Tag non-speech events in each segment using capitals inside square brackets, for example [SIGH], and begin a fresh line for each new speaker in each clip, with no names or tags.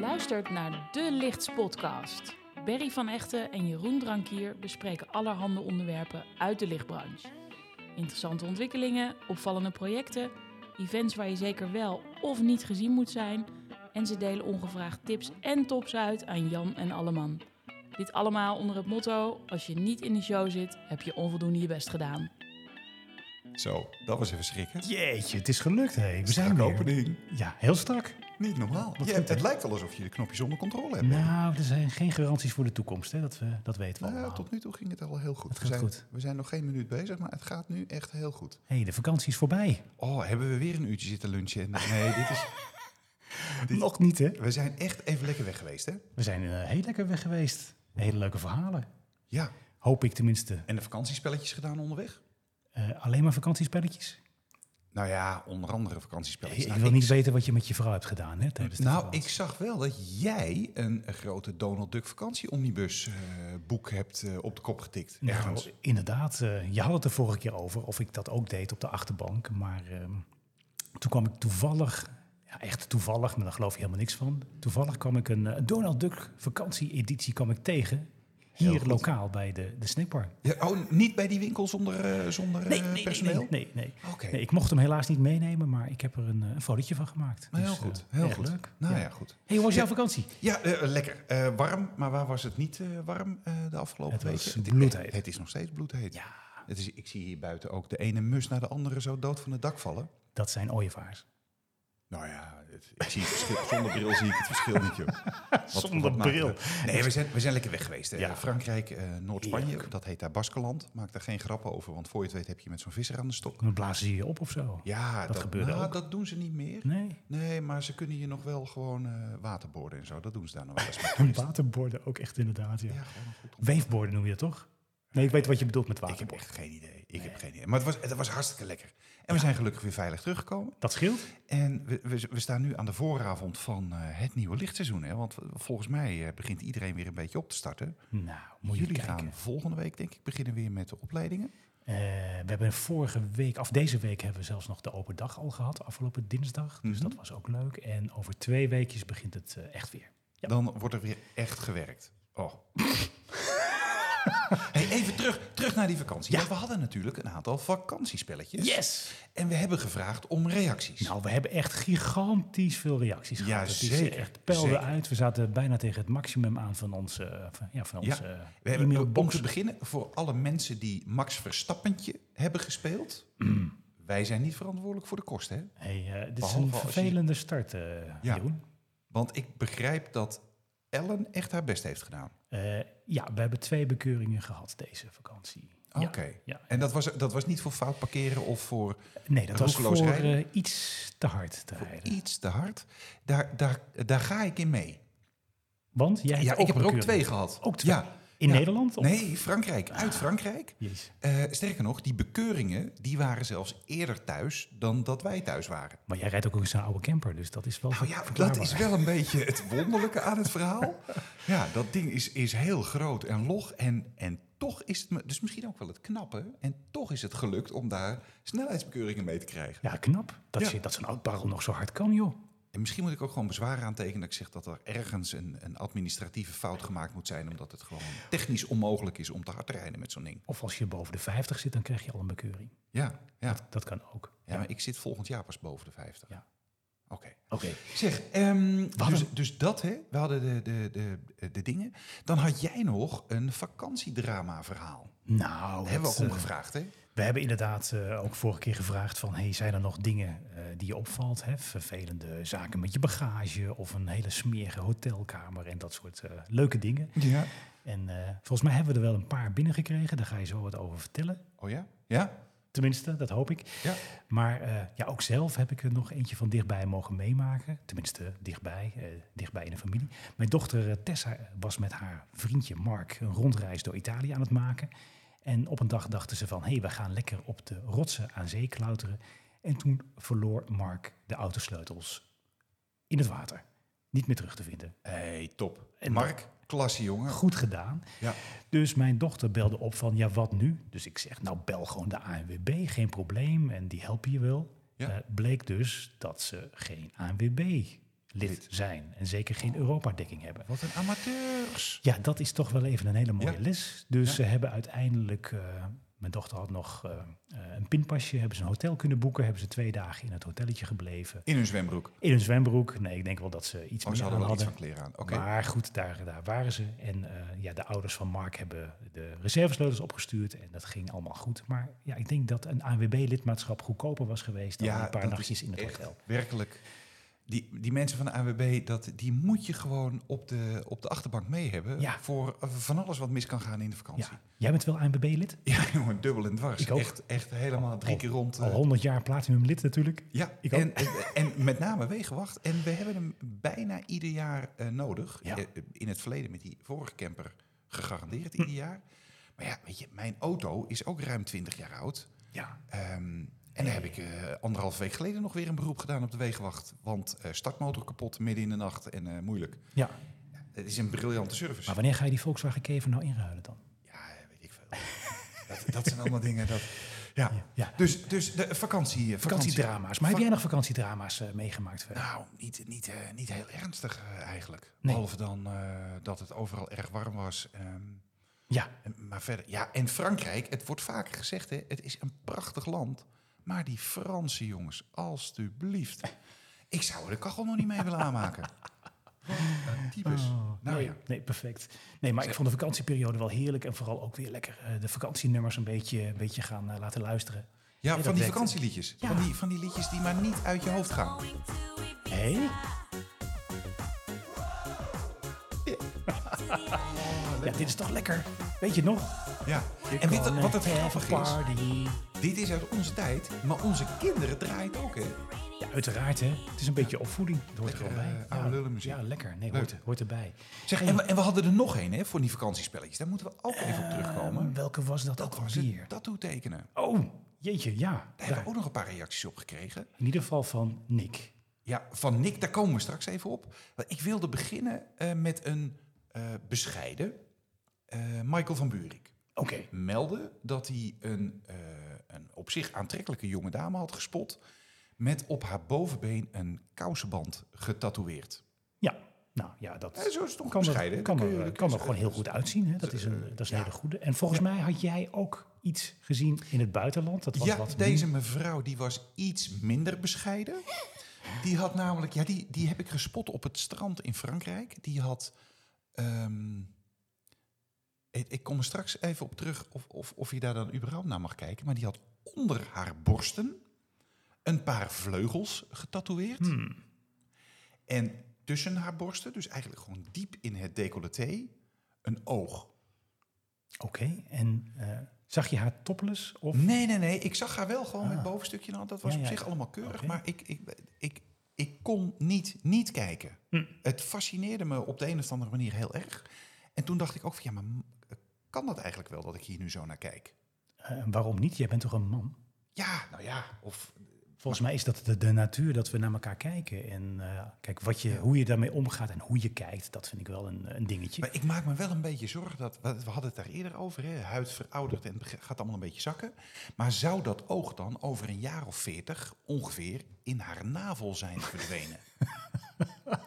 luistert naar De Lichts Podcast. Berry van Echten en Jeroen Drankier bespreken allerhande onderwerpen uit de lichtbranche. Interessante ontwikkelingen, opvallende projecten, events waar je zeker wel of niet gezien moet zijn. En ze delen ongevraagd tips en tops uit aan Jan en Alleman. Dit allemaal onder het motto: als je niet in de show zit, heb je onvoldoende je best gedaan.
Zo, dat was even schrikken.
Jeetje, het is gelukt, hé. We zijn
Strak
er.
opening.
Ja, heel strak.
Niet normaal. Je
goed,
hebt-
hè?
het lijkt wel alsof je de knopjes onder controle hebt.
Nou, er zijn geen garanties voor de toekomst, hè. Dat, we, dat weten we
Nou,
allemaal.
tot nu toe ging het al heel goed.
Het
we,
gaat
zijn,
goed.
we zijn nog geen minuut bezig, maar het gaat nu echt heel goed.
Hé, de vakantie is voorbij.
Oh, hebben we weer een uurtje zitten lunchen? En- Nee, dit
[LAUGHS]
is... Dit-
Nog niet, hè.
We zijn echt even lekker weg geweest, hè?
We zijn eh, heel lekker weg geweest. Hele leuke verhalen.
Ja.
Hoop ik tenminste.
En de vakantiespelletjes gedaan onderweg?
Eh, alleen maar vakantiespelletjes?
Nou ja, onder andere
Ik,
vakantiespelletjes.
ik
Nou,
wil
ik-
niet weten wat je met je vrouw hebt gedaan, hè, tijdens de
Nou,
vakantie.
ik zag wel dat jij een grote Donald Duck vakantieomnibus eh, boek hebt eh, op de kop getikt.
Nou,
Ergens.
inderdaad. eh, je had het de vorige keer over of ik dat ook deed op de achterbank. Maar ehm, toen kwam ik toevallig, ja, echt toevallig, maar daar geloof je helemaal niks van. Toevallig kwam ik een eh, Donald Duck vakantie-editie kwam ik tegen.
Heel
Hier
goed.
lokaal bij de, de snackbar.
Ja, oh, niet bij die winkel zonder, eh, zonder eh, personeel?
nee, nee, nee.
Oh, Oké.
Nee, ik mocht hem helaas niet meenemen, maar ik heb er een, eh, een fotootje van gemaakt.
Maar Ah, Nou, heel
Dus, eh,
goed, heel
erg
goed.
leuk.
Nou ja,
ja.
goed.
Hey, hoe was jouw vakantie?
Ja, eh, lekker. Eh, warm, maar waar was het niet eh, warm eh, de afgelopen
Het was
weken?
bloedheet.
Het, het is nog steeds bloedheet. Het is, ik zie hier buiten ook de ene mus naar de andere zo dood van het dak vallen.
Dat zijn ooievaars.
Nou ja, het- ik zie het verschil, [LAUGHS] zonder bril zie ik het verschil niet, joh. Wat-
Zonder
wat maakt
bril.
het? Nee, we zijn, we zijn lekker weg geweest. hè.
Ja.
Frankrijk, eh, Noord-Spanje, dat heet daar Baskeland. Maak daar geen grappen over, want voor je het weet heb je met zo'n visser aan de stok.
Dan blazen ze je op of zo.
Ja,
Dat gebeurde
nou,
ook.
dat doen ze niet meer.
Nee.
Nee, maar ze kunnen je nog wel gewoon eh waterboorden en zo. Dat doen ze daar nog [LAUGHS] wel eens. met
En
toeristen.
waterborden ook echt inderdaad, ja.
Ja, gewoon een goed
Weefborden noem je dat toch? Nee, ik weet wat je bedoelt met
Ik heb
waterborden.
echt geen idee. Ik heb geen idee. Maar het was, het was hartstikke lekker. En we zijn gelukkig weer veilig teruggekomen.
Dat scheelt.
En we, we, we staan nu aan de vooravond van eh, het nieuwe lichtseizoen. Hè? Want volgens mij eh, begint iedereen weer een beetje op te starten.
Nou, moet je
Jullie
kijken.
gaan volgende week, denk ik, beginnen weer met de opleidingen.
Eh, we hebben vorige week, of deze week hebben we zelfs nog de open dag al gehad, afgelopen dinsdag. Dus
Mhm.
dat was ook leuk. En over twee weekjes begint het eh, echt weer. Ja.
Dan wordt er weer echt gewerkt.
[LAUGHS]
Oh. hey, even terug, terug naar die vakantie.
Ja.
Want we hadden natuurlijk een aantal vakantiespelletjes.
Yes!
En we hebben gevraagd om reacties.
Nou, we hebben echt gigantisch veel reacties
Ja,
gehad. Het is eh,
zeker,
echt peilde
zeker.
uit. We zaten bijna tegen het maximum aan van onze, eh, van, ja, van
Ja,
onze eh,
We hebben, om
e-mailbox.
te beginnen, voor alle mensen die Max Verstappentje hebben gespeeld.
[CLEARS THROAT]
Wij zijn niet verantwoordelijk voor de kosten, hè?
Hey, eh, dit is
Behalve
een
als je-
vervelende start, eh,
Ja.
Jeroen.
Want ik begrijp dat Ellen echt haar best heeft gedaan.
Eh, ja, we hebben twee bekeuringen gehad deze vakantie.
Oké.
Ja, ja.
En dat was, dat was niet voor fout parkeren of voor
Nee, dat was
Roekeloos
voor
rijden?
eh, iets te hard te rijden.
iets te hard. Daar, daar, daar ga ik in mee.
Want jij hebt
Ja,
ook
ik heb
een
er ook
bekeuring.
twee gehad.
Ook twee?
Ja.
In
Ja.
Nederland? Of?
Nee, Frankrijk. Uit Frankrijk.
Jezus.
Eh, sterker nog, die bekeuringen die waren zelfs eerder thuis dan dat wij thuis waren.
Maar jij rijdt ook eens een oude camper, dus dat is wel
Nou ja, dat
verklaarbaar.
is wel een beetje het wonderlijke aan het verhaal. Ja, dat ding is, is heel groot en log. En, en toch is het, me- dus misschien ook wel het knappe. En toch is het gelukt om daar snelheidsbekeuringen mee te krijgen.
Ja, knap. Dat,
Ja.
je, dat zo'n oud barrel nog zo hard kan, joh.
En misschien moet ik ook gewoon bezwaar aantekenen. Dat ik zeg dat er ergens een, een administratieve fout gemaakt moet zijn. Omdat het gewoon technisch onmogelijk is om te hard te rijden met zo'n ding.
Of als je boven de 50 zit, dan krijg je al een bekeuring.
Ja, ja.
Dat kan ook.
ja, maar ik zit volgend jaar pas boven de 50.
Ja.
Oké.
Oké.
Zeg, ehm, dus,
hadden-
dus dat, hè? We hadden de, de, de, de dingen. Dan had jij nog een vakantiedrama-verhaal.
Nou,
Daar hebben we
dat,
ook om
eh,
gevraagd, hè?
We hebben inderdaad eh, ook vorige keer gevraagd van... Hey, zijn er nog dingen eh, die je opvalt? Hè? Vervelende zaken met je bagage of een hele smerige hotelkamer en dat soort eh, leuke dingen.
Ja.
En eh, volgens mij hebben we er wel een paar binnengekregen. Daar ga je zo wat over vertellen.
Oh ja? Ja?
Tenminste, dat hoop ik.
Ja.
Maar eh, ja, ook zelf heb ik er nog eentje van dichtbij mogen meemaken. Tenminste, dichtbij, eh, dichtbij in de familie. Mijn dochter eh, Tessa was met haar vriendje Mark een rondreis door Italië aan het maken. En op een dag dachten ze van, hé, hey, we gaan lekker op de rotsen aan zee klauteren. En toen verloor Mark de autosleutels in het water. Niet meer terug te vinden.
hey, top.
En
Mark, klasse jongen.
Goed gedaan.
Ja.
Dus mijn dochter belde op van, ja, wat nu? Dus ik zeg, nou, bel gewoon de ANWB, geen probleem. En die helpen je wel.
Ja.
Eh, bleek dus dat ze geen ANWB lid zijn. En zeker geen Europa-dekking hebben.
Oh. Wat een amateurs.
Ja, dat is toch wel even een hele mooie
Ja.
les. Dus
Ja.
ze hebben uiteindelijk, eh, mijn dochter had nog eh, eh, een pinpasje, hebben ze een hotel kunnen boeken, hebben ze twee dagen in het hotelletje gebleven.
In hun zwembroek.
In een zwembroek. Nee, ik denk wel dat ze iets
Oh,
meer
ze
aan
hadden wel iets
hadden.
van kleren aan. Oké.
Maar goed, daar, daar waren ze. En eh, ja, de ouders van Mark hebben de reservesleutels opgestuurd. En dat ging allemaal goed. Maar ja, ik denk dat een ANWB-lidmaatschap goedkoper was geweest dan een paar
dat
nachtjes
is
in het
echt
hotel.
Werkelijk. Die, die mensen van de AWB, dat, die moet je gewoon op de, op de achterbank mee hebben.
Ja.
Voor eh, van alles wat mis kan gaan in de vakantie.
Ja. Jij bent wel ANWB-lid?
Ja, [LAUGHS] jongen, dubbel en dwars.
Ik ook.
Echt, echt helemaal drie
Al-
keer rond. eh,
Al 100 jaar platinum-lid natuurlijk.
ja,
Ik ook.
en, en, en met name Wegenwacht. En we hebben hem bijna ieder jaar eh, nodig.
Ja.
Eh, In het verleden met die vorige camper gegarandeerd
Hm.
ieder jaar. Maar ja, weet je, mijn auto is ook ruim 20 jaar oud.
Ja,
Ehm, en daar heb ik eh anderhalf week geleden nog weer een beroep gedaan op de Wegenwacht. Want eh, startmotor kapot midden in de nacht en eh, moeilijk.
ja.
Het is een briljante service.
Maar wanneer ga je die Volkswagen Kever nou inruilen dan?
Ja, eh, weet ik veel. dat, dat zijn allemaal dingen dat... Ja,
Ja.
dus, dus de vakantie... eh,
Vakantiedrama's. Maar heb
Vak-
jij nog vakantiedrama's eh, meegemaakt? verder?
Nou, niet, niet, eh, niet heel ernstig eh, eigenlijk.
Nee.
Behalve dan eh, dat het overal erg warm was. ehm,
Ja,
En- Maar verder, ja, en Frankrijk, het wordt vaker gezegd, hè, het is een prachtig land. Maar die Fransen, jongens, alstublieft. Ik zou er de kachel nog niet mee willen
[LAUGHS]
aanmaken. Wat een types.
Oh,
nou
nee,
ja.
nee, perfect. Nee, maar ik vond de vakantieperiode wel heerlijk. En vooral ook weer lekker eh, de vakantienummers een beetje, een beetje gaan eh, laten luisteren.
Ja,
dat
van die
werkt.
vakantieliedjes.
Ja.
Van, die, van die liedjes die maar niet uit je hoofd gaan.
Hé?
[LAUGHS]
Ja, dit is toch lekker? Weet je nog?
Ja. En weet je
Gonna
wat het
have a
grappige is?
Party.
Dit is uit onze tijd, maar onze kinderen draaien het ook, hè?
Ja, uiteraard hè. Het is een beetje opvoeding. Het hoort er wel
Lekker,
bij.
eh, oude lullenmuziek.
Ja, lekker. Nee,
Leuk.
hoort, er- hoort erbij.
Zeg, en we, en we hadden er nog één, hè, voor die vakantiespelletjes. Daar moeten we ook even op terugkomen.
Eh, welke was dat ook
dat was het
alweer?
tattoo tekenen.
Oh, jeetje, ja.
Daar hebben
Daar.
we ook nog een paar reacties op gekregen.
In ieder geval van Nick.
Ja, van Nick, daar komen we straks even op. Want Ik wilde beginnen eh, met een eh, bescheiden eh, Michael van Buurik.
Oké.
Meldde dat hij een, eh, een op zich aantrekkelijke jonge dame had gespot... met op haar bovenbeen een kousenband getatoeëerd.
Ja, nou ja, dat
Ja, zo is het toch
kan,
bescheiden.
er, kan,
Dan kun je-
er,
dan kun
kan
je Eh,
er gewoon heel goed uitzien. Hè? Dat is een, dat is een hele goede. En volgens mij had jij ook iets gezien in het buitenland. Dat was
Ja,
wat
deze mevrouw die was iets minder bescheiden. Die had namelijk, ja, die, die heb ik gespot op het strand in Frankrijk. Die had. ehm, ik, ik kom er straks even op terug of, of, of je daar dan überhaupt naar mag kijken. Maar die had onder haar borsten een paar vleugels getatoeëerd.
Hmm.
En tussen haar borsten, dus eigenlijk gewoon diep in het decolleté, een oog.
Oké, en eh, zag je haar topless? Of?
Nee, nee, nee. Ik zag haar wel gewoon met bovenstukje in de hand. Dat was
Ah. Ja,
op
ja,
zich
ja.
allemaal keurig.
Oké.
Maar ik, ik, ik, ik kon niet niet kijken.
Hm.
Het fascineerde me op de een of andere manier heel erg. En toen dacht ik ook van ja, maar m- kan dat eigenlijk wel dat ik hier nu zo naar kijk?
Eh, waarom niet? Jij bent toch een man?
Ja, nou ja. Of,
Volgens mij is dat de, de natuur dat we naar elkaar kijken. En eh, kijk, wat je, hoe je daarmee omgaat en hoe je kijkt, dat vind ik wel een, een dingetje.
maar ik maak me wel een beetje zorgen dat we we hadden het daar eerder over. Hè? Huid verouderd en het beg- gaat allemaal een beetje zakken. Maar zou dat oog dan over een jaar of veertig ongeveer in haar navel zijn
[LAUGHS]
verdwenen?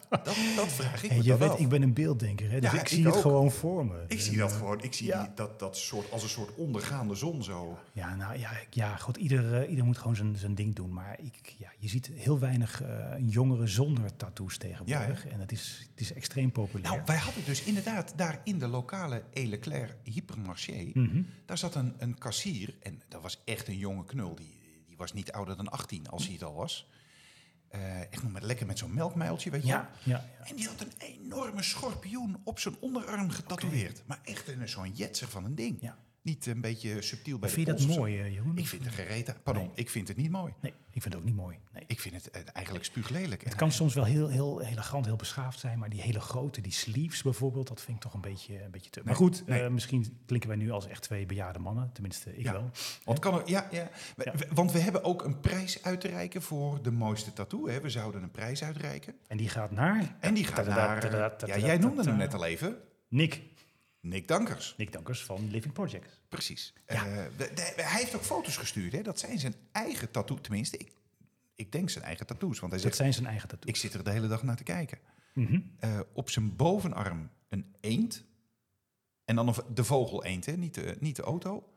dat, dat vraag ik
en
me
je
dan
weet,
af.
ik ben een beelddenker, hè? dus
Ja,
ik
ik
zie het
ook.
gewoon voor me.
Ik zie dat gewoon, ik zie die- dat, dat soort, als een soort ondergaande zon zo.
Ja, nou ja, ik- ja goed, ieder, eh, ieder moet gewoon zijn, zijn ding doen. Maar ik, ja, je ziet heel weinig eh, jongeren zonder tattoos tegenwoordig. en het is, het is extreem populair.
Nou, wij hadden dus inderdaad daar in de lokale Eleclair hypermarché,
Mhm.
daar zat een, een kassier en dat was echt een jonge knul, die, die was niet ouder dan 18 als hij het al was. Eh, echt nog met, lekker met zo'n melkmijltje, weet je
ja,
wel.
ja, ja.
En die had een enorme schorpioen op zijn onderarm getatoeëerd. Maar echt een, zo'n jetser van een ding.
Ja.
Niet een beetje subtiel bij de
Vind je dat
pols of zo.
mooi, eh, Jeroen?
Ik vind het gereed. Pardon, ik vind het niet mooi.
Nee, ik vind het ook niet mooi. Nee.
Ik vind het eh, eigenlijk spuuglelijk.
Het kan soms wel heel, heel elegant, heel beschaafd zijn. Maar die hele grote, die sleeves bijvoorbeeld, dat vind ik toch een beetje, een beetje te... maar goed,
nee.
eh, misschien klinken wij nu als echt twee bejaarde mannen. Tenminste, ik
Ja.
wel.
Want, kan er, ja, ja. We- we- want we hebben ook een prijs uit te reiken voor de mooiste tattoo. Hè? We zouden een prijs uitreiken.
En die gaat naar...
En die gaat
Tadada,
naar... eh,
tadada,
Ja,
tadada,
jij noemde hem
tadada.
net al even.
Nick.
Nick Dankers.
Nick Dankers van Living Projects.
Precies. Eh, we- de- hij heeft ook foto's gestuurd. Hè? Dat zijn zijn eigen tattoo. Tenminste, ik, ik denk zijn eigen tattoos. Want hij
Dat
zegt,
zijn zijn eigen tattoos.
Dus ik zit er de hele dag naar te kijken.
Mhm.
Eh, op zijn bovenarm een eend. En dan een v- de vogel eend, hè? Niet, de, niet de auto.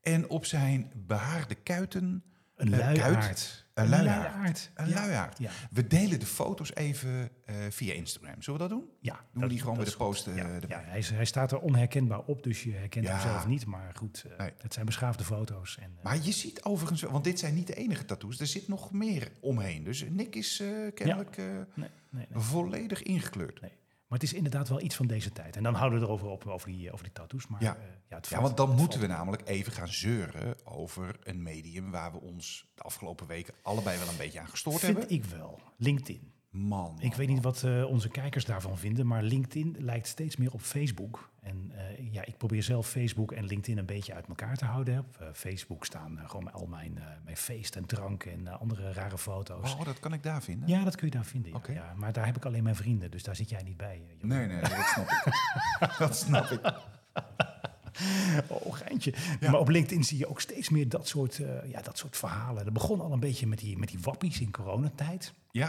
En op zijn behaarde kuiten
Een
Eh,
luiaard.
kuit. een luiaard. Een
Ja.
luiaard.
Ja,
We delen de foto's even eh, via Instagram. Zullen we dat doen?
ja
Doen we die gewoon
dat
bij de
is goed.
post eh,
Ja,
erbij?
ja, hij, is- hij staat er onherkenbaar op, dus je herkent
Ja.
hem zelf niet. Maar goed, eh,
Nee.
het zijn beschaafde foto's. En, eh,
Maar je ziet overigens, wel- want dit zijn niet de enige tattoos, er zit nog meer omheen. Dus Nick is eh, kennelijk eh,
nee, nee, nee.
volledig ingekleurd.
Maar het is inderdaad wel iets van deze tijd. En dan houden we erover op, over die, eh, over die tattoos. Maar,
Ja.
eh, ja, het
Ja, want dan moeten we namelijk even gaan zeuren over een medium waar we ons de afgelopen weken allebei wel een beetje aan gestoord
Vind
hebben.
ik wel. LinkedIn.
Man,
Ik weet niet wat eh, onze kijkers daarvan vinden, maar LinkedIn lijkt steeds meer op Facebook. En eh, ja, ik probeer zelf Facebook en LinkedIn een beetje uit elkaar te houden. Op eh, Facebook staan eh, gewoon al mijn, eh, mijn feest en drank en eh, andere rare foto's.
Oh, dat kan ik daar vinden.
Ja, dat kun je daar vinden. ja,
Oké.
ja. Maar daar heb ik alleen mijn vrienden, dus daar zit jij niet bij. eh, Jeroen.
Nee, nee, dat snap ik. [LAUGHS] dat snap ik.
Oh, geintje. Maar op LinkedIn zie je ook steeds meer dat soort, eh, ja, dat soort verhalen. Dat begon al een beetje met die, met die wappies in coronatijd.
Ja,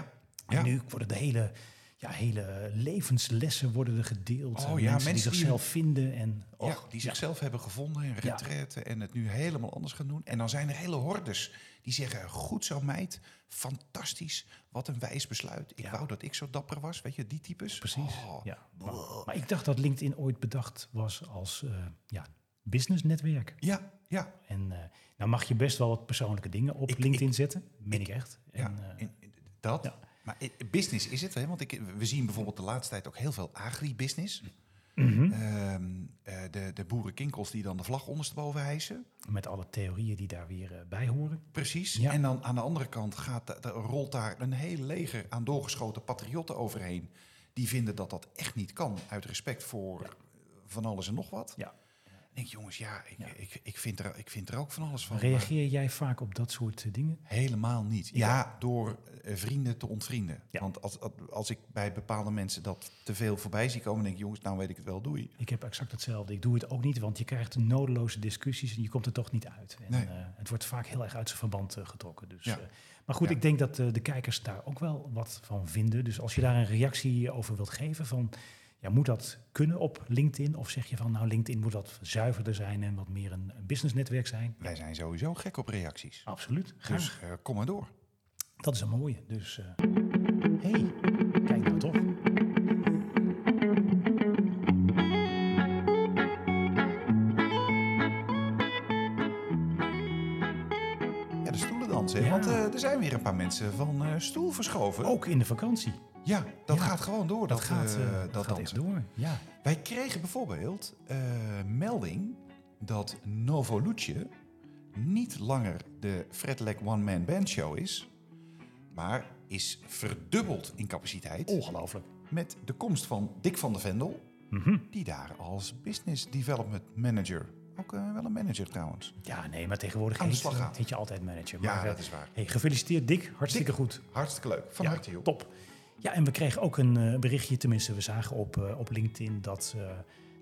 En
ja.
nu worden de hele, ja, hele levenslessen worden er gedeeld.
Oh
Eh,
ja,
mensen, die
mensen die-
zichzelf vinden. En,
ja,
och,
die
ja.
zichzelf hebben gevonden en retretten en het nu helemaal anders gaan doen. En dan zijn er hele hordes die zeggen, goed zo meid, fantastisch, wat een wijs besluit. Ik
Ja.
wou dat ik zo dapper was, weet je, die types.
Precies.
Oh,
Ja. Maar, maar ik dacht dat LinkedIn ooit bedacht was als eh, ja, businessnetwerk.
Ja, ja.
En eh, nou mag je best wel wat persoonlijke dingen op
Ik-
LinkedIn zetten. Meen ik, echt.
ja.
En, eh,
En, en dat.
ja.
Maar eh, business is het, hè? want ik, we zien bijvoorbeeld de laatste tijd ook heel veel agribusiness.
mhm.
Ehm, eh, de, de boerenkinkels die dan de vlag ondersteboven hijsen.
Met alle theorieën die daar weer eh, bij horen.
Precies.
Ja.
En dan aan de andere kant gaat, da- da- rolt daar een heel leger aan doorgeschoten patriotten overheen. Die vinden dat dat echt niet kan, uit respect voor van alles en nog wat.
Ja.
Ik denk, jongens, ja, ik,
Ja.
Ik, ik, vind er, ik vind er ook van alles van.
Reageer jij vaak op dat soort eh, dingen?
maar Helemaal niet. Ja, door eh, vrienden te ontvrienden.
Ja.
Want als, als- als ik bij bepaalde mensen dat te veel voorbij zie komen, denk ik, jongens, nou weet ik het wel, doei.
Ik heb exact hetzelfde. Ik doe het ook niet, want je krijgt nodeloze discussies en je komt er toch niet uit. En,
Nee.
eh, het wordt vaak heel erg uit zijn verband eh, getrokken. Dus,
Ja.
eh, maar goed,
Ja.
ik denk dat eh, de kijkers daar ook wel wat van vinden. Dus als je daar een reactie over wilt geven van... Ja, moet dat kunnen op LinkedIn? Of zeg je van, nou, LinkedIn moet wat zuiverder zijn en wat meer een, een businessnetwerk zijn?
Wij zijn sowieso gek op reacties.
Absoluut. Graag.
Dus eh, kom maar door.
Dat is een mooie. Dus, eh, hey, kijk nou toch.
Ja, de stoelendans, hè?
Ja.
Want eh, er zijn weer een paar mensen van eh, stoel verschoven.
Ook in de vakantie.
Ja, dat
Ja.
gaat gewoon door. Dat,
Dat gaat,
eh,
eh,
dat
dat gaat echt
dansen.
door. Ja.
Wij kregen bijvoorbeeld eh, melding dat Novoluce niet langer de Fred Lek One Man Band Show is, maar is verdubbeld in capaciteit
Ongelooflijk.
met de komst van Dick van der Vendel,
Mhm.
die daar als Business Development Manager, ook eh, wel een manager trouwens.
Ja, nee, maar tegenwoordig
Aan de
heet,
slag gaan.
heet je altijd manager.
Ja,
Maar, eh,
dat is waar.
Hey, gefeliciteerd Dick, hartstikke goed.
Hartstikke leuk, van
Ja,
harte joh.
Top. Ja, en we kregen ook een eh, berichtje, tenminste we zagen op, eh, op LinkedIn dat, eh,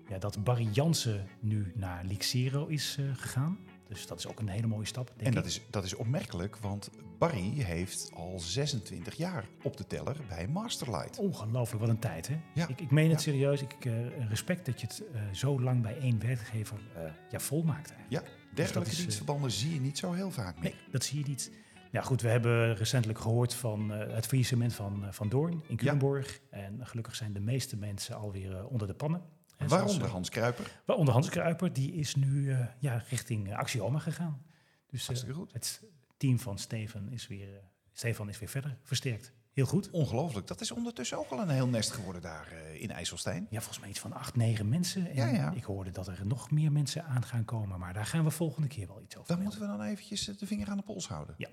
ja, dat Barry Jansen nu naar Lixero is eh, gegaan. Dus dat is ook een hele mooie stap, denk
En
ik.
dat is, dat is opmerkelijk, want Barry heeft al 26 jaar op de teller bij Masterlight.
Ongelooflijk, wat een tijd hè?
Ja,
Ik, ik meen het
ja.
serieus, ik eh, respect dat je het eh, zo lang bij één werkgever eh, ja, volmaakt eigenlijk.
Ja,
dat
dergelijke
is, eh,
dienstverbanden zie je niet zo heel vaak meer.
Nee, dat zie je niet. Ja, goed, we hebben recentelijk gehoord van eh, het faillissement van, eh, van Doorn in Culemborg. En gelukkig zijn de meeste mensen alweer eh, onder de pannen. En zoals,
Waaronder
eh,
Hans Kruiper.
waaronder Hans Kruiper, die is nu eh, ja, richting eh, Axioma gegaan. Dus eh,
Hartstikke goed.
het team van Stefan is weer, eh, Stefan is weer verder versterkt. Heel goed.
Ongelooflijk. Dat is ondertussen ook al een heel nest geworden daar eh, in IJsselstein.
Ja, volgens mij iets van acht, negen mensen. En
Ja, ja.
ik hoorde dat er nog meer mensen aan gaan komen. Maar daar gaan we volgende keer wel iets over
Daar
melden.
moeten we dan eventjes eh, de vinger aan de pols houden.
Ja,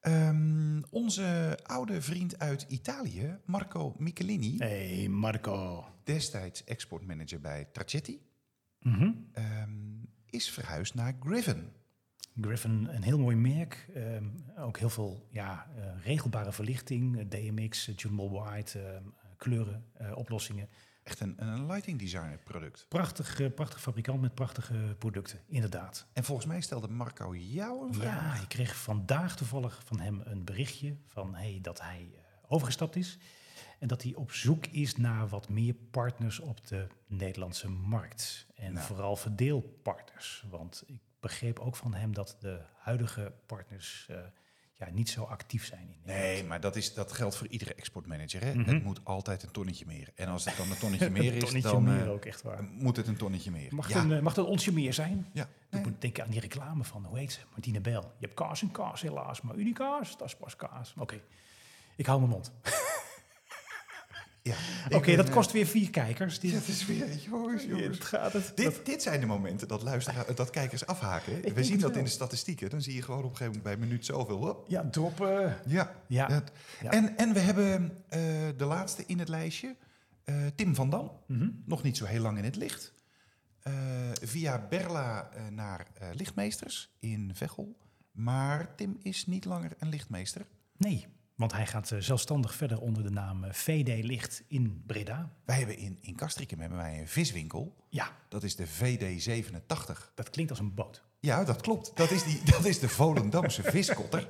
Ehm, onze oude vriend uit Italië, Marco Michelini,
Hey Marco.
destijds exportmanager bij Tragetti,
Mhm.
ehm, is verhuisd naar Griffin.
Griffin, een heel mooi merk. Ehm, ook heel veel ja, eh, regelbare verlichting. eh, DMX, eh, Jumbo White, ehm, kleuren, eh, oplossingen.
echt een, een lighting designer product.
Prachtig, eh, prachtig fabrikant met prachtige producten, inderdaad.
En volgens mij stelde Marco jou een vraag.
Ja, ik kreeg vandaag toevallig van hem een berichtje van hey, dat hij eh, overgestapt is. En dat hij op zoek is naar wat meer partners op de Nederlandse markt. En
Nou.
vooral verdeelpartners. Want ik begreep ook van hem dat de huidige partners eh, ja, niet zo actief zijn in Nederland.
Nee, maar dat, is, dat geldt voor iedere exportmanager. Hè?
Mhm.
Het moet altijd een tonnetje meer. En als het dan een
[LAUGHS]
tonnetje meer is,
Tonnetje
dan
meer
eh,
ook, echt waar.
moet het een tonnetje meer.
Mag,
ja,
een, eh, mag dat onsje meer zijn?
ja.
Ik
Nee.
moet denken aan die reclame van, hoe heet ze? Martine Bel. Je hebt kaas en kaas helaas, maar unicaas, dat is pas kaas. Oké, ik hou mijn mond.
Ja. eh,
Oké, dat
[LAUGHS]
kost weer vier kijkers. Die,
Het is weer, jongens, jongens.
dit gaat het.
Dit, dit zijn de momenten dat, luisteraar, dat kijkers afhaken.
denk
We zien
het
dat
wel.
in de statistieken. Dan zie je gewoon op een gegeven moment bij minuut zoveel. Hop.
Ja, droppen.
Ja.
Ja.
Dat-
Ja.
En, en we hebben eh, de laatste in het lijstje. eh, Tim van Dam.
Mhm.
Nog niet zo heel lang in het licht. Eh, via Berla eh, naar eh, lichtmeesters in Veghel. Maar Tim is niet langer een lichtmeester.
Nee, want hij gaat eh, zelfstandig verder onder de naam eh, VD Licht in Breda.
Wij hebben in, in Castricum hebben wij een viswinkel.
Ja,
Dat is de VD87.
dat klinkt als een boot.
Ja, dat klopt. Dat is, die, [LAUGHS] dat is de Volendamse viskotter,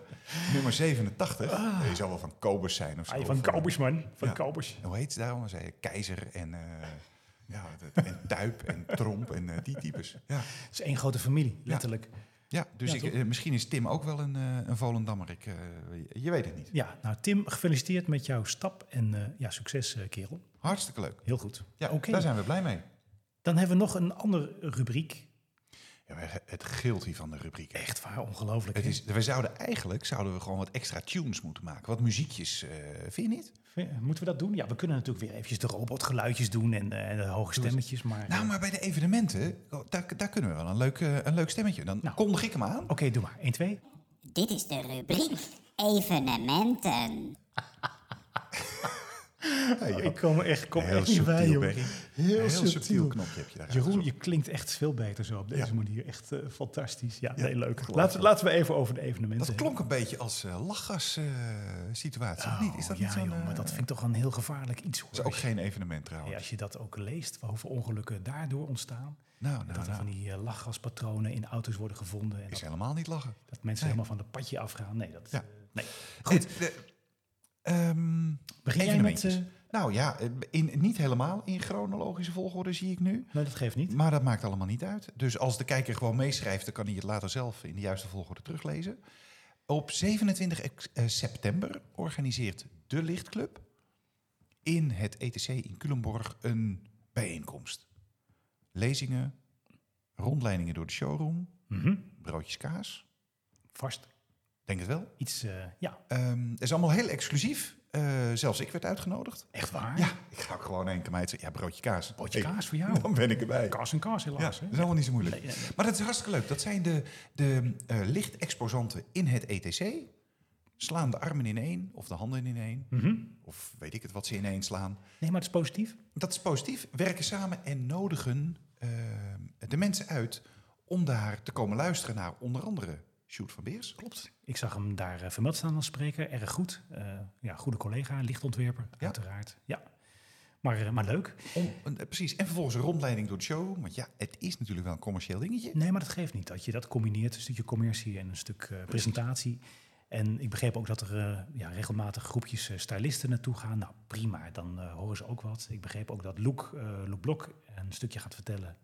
nummer 87. Die zal wel van Kobus zijn of zo.
Ah, van
Of, eh,
Kaubers, man. Van
Ja.
Kaubers.
Hoe heet ze daarom? Zei je keizer en, eh, ja, dat- en tuip en tromp en eh, die types. Ja,
Het is één grote familie, letterlijk. Ja.
ja dus
Ja,
ik,
toch?
eh, misschien is Tim ook wel een, eh, een Volendammer. Ik, eh, je weet het niet.
nou Tim, gefeliciteerd met jouw stap en eh, ja, succes eh, kerel.
Hartstikke leuk.
Heel goed.
Ja,
Oké.
Daar zijn we blij mee.
Dan hebben we nog een andere rubriek.
Ja, maar het gilt hier van de rubriek.
Echt waar, ongelooflijk.
Het
hè?
is, we zouden eigenlijk zouden we gewoon wat extra tunes moeten maken. Wat muziekjes, eh, vind je niet?
eh, Moeten we dat doen? Ja, we kunnen natuurlijk weer eventjes de robotgeluidjes doen en eh, de hoge stemmetjes, maar...
Nou, maar bij de evenementen, oh, daar, daar kunnen we wel een leuk, eh, een leuk stemmetje. Dan
Nou.
kondig ik hem aan.
Oké, doe maar. 1, 2.
Dit is de rubriek evenementen.
Ik kom echt, kom
Oh, Heel
echt niet bij,
subtiel,
joh.
Berry.
Heel,
subtiel knopje heb je daar
Jeroen,
aangezocht.
je klinkt echt veel beter zo op deze
Ja.
manier. Echt eh, fantastisch. Ja,
Ja,
nee, leuk.
geluid.
Laten, laten we even over de evenementen
Dat klonk een beetje als eh lachgas-situatie.
hebben.
niet? Is dat
Oh,
niet
ja,
zo'n...
joh, maar
eh,
dat vind ik toch een heel gevaarlijk iets. Hoor.
is ook geen evenement
Ja,
trouwens.
als je dat ook leest, hoeveel ongelukken daardoor ontstaan.
Nou, nou,
dat er
nou.
van die eh, lachgaspatronen in auto's worden gevonden. En
Is
dat,
helemaal niet lachen.
dat mensen helemaal van de padje afgaan. Nee, dat...
Ja.
eh, nee. Goed,
Eh, de- ehm,
begin jij met...
evenementjes.
eh,
Nou ja, eh, in, niet helemaal in chronologische volgorde zie ik nu.
nee, dat geeft niet.
Maar dat maakt allemaal niet uit. Dus als de kijker gewoon meeschrijft, dan kan hij het later zelf in de juiste volgorde teruglezen. Op 27 ex- eh, september organiseert de Lichtclub in het ETC in Culemborg een bijeenkomst. Lezingen, rondleidingen door de showroom,
Mhm.
broodjes kaas,
Vast
denk het wel.
iets... eh, ja,
Ehm, het is allemaal heel exclusief. Eh, zelfs ik werd uitgenodigd.
echt waar.
Ja, ik ga ook gewoon één keer mij zeggen, ja, broodje kaas.
Potje
Ik-
kaas voor jou.
Dan ben ik erbij.
Kaas en kaas
Ja,
helaas.
dat
hè?
is allemaal niet zo moeilijk.
Nee, nee, nee.
Maar dat is hartstikke leuk. Dat zijn de, de eh, lichtexposanten in het ETC. Slaan de armen ineen of de handen ineen.
Mhm.
Of weet ik het wat ze ineen slaan.
Nee, maar het is positief.
Dat is positief. Werken samen en nodigen eh, de mensen uit om daar te komen luisteren naar onder andere Sjoerd van Beers. Klopt.
Ik zag hem daar eh, vermeld staan als spreker. Erg goed. Eh, ja, goede collega, lichtontwerper, uiteraard. Ja. Maar, eh, maar leuk.
Om, eh, precies. En vervolgens een rondleiding door de show. Want ja, het is natuurlijk wel een commercieel dingetje.
Nee, maar dat geeft niet. Dat je dat combineert, een stukje commercie en een stuk eh, presentatie. En ik begreep ook dat er eh, ja, regelmatig groepjes eh, stylisten naartoe gaan. Nou, prima, dan eh, horen ze ook wat. Ik begreep ook dat Luc, eh Luc Blok een stukje gaat vertellen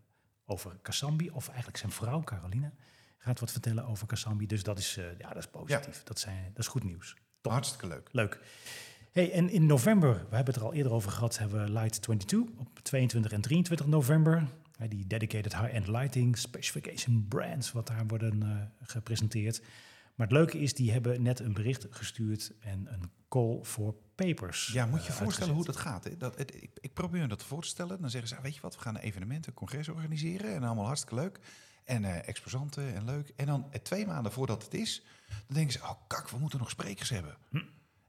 over Kasambi. Of eigenlijk zijn vrouw, Caroline, gaat wat vertellen over Kasambi. Dus dat is, eh, ja, dat is positief. Dat, zijn, dat is goed nieuws.
Hartstikke leuk.
Leuk. Hey, en in november, we hebben het er al eerder over gehad, hebben we Light 22 op 22 en 23 november. Hè, Die dedicated high-end lighting specification brands, wat daar worden eh, gepresenteerd. Maar het leuke is, die hebben net een bericht gestuurd en een call for papers.
Ja, moet
eh,
je voorstellen hoe
uitgezet.
dat gaat. Hè? Dat, het, ik, ik probeer me dat voor te stellen. Dan zeggen ze, ah, weet je wat, we gaan een evenement, een congres organiseren. En allemaal hartstikke leuk. En eh exposanten en leuk. En dan eh, twee maanden voordat het is, dan denken ze, oh kak, we moeten nog sprekers hebben.
Hm.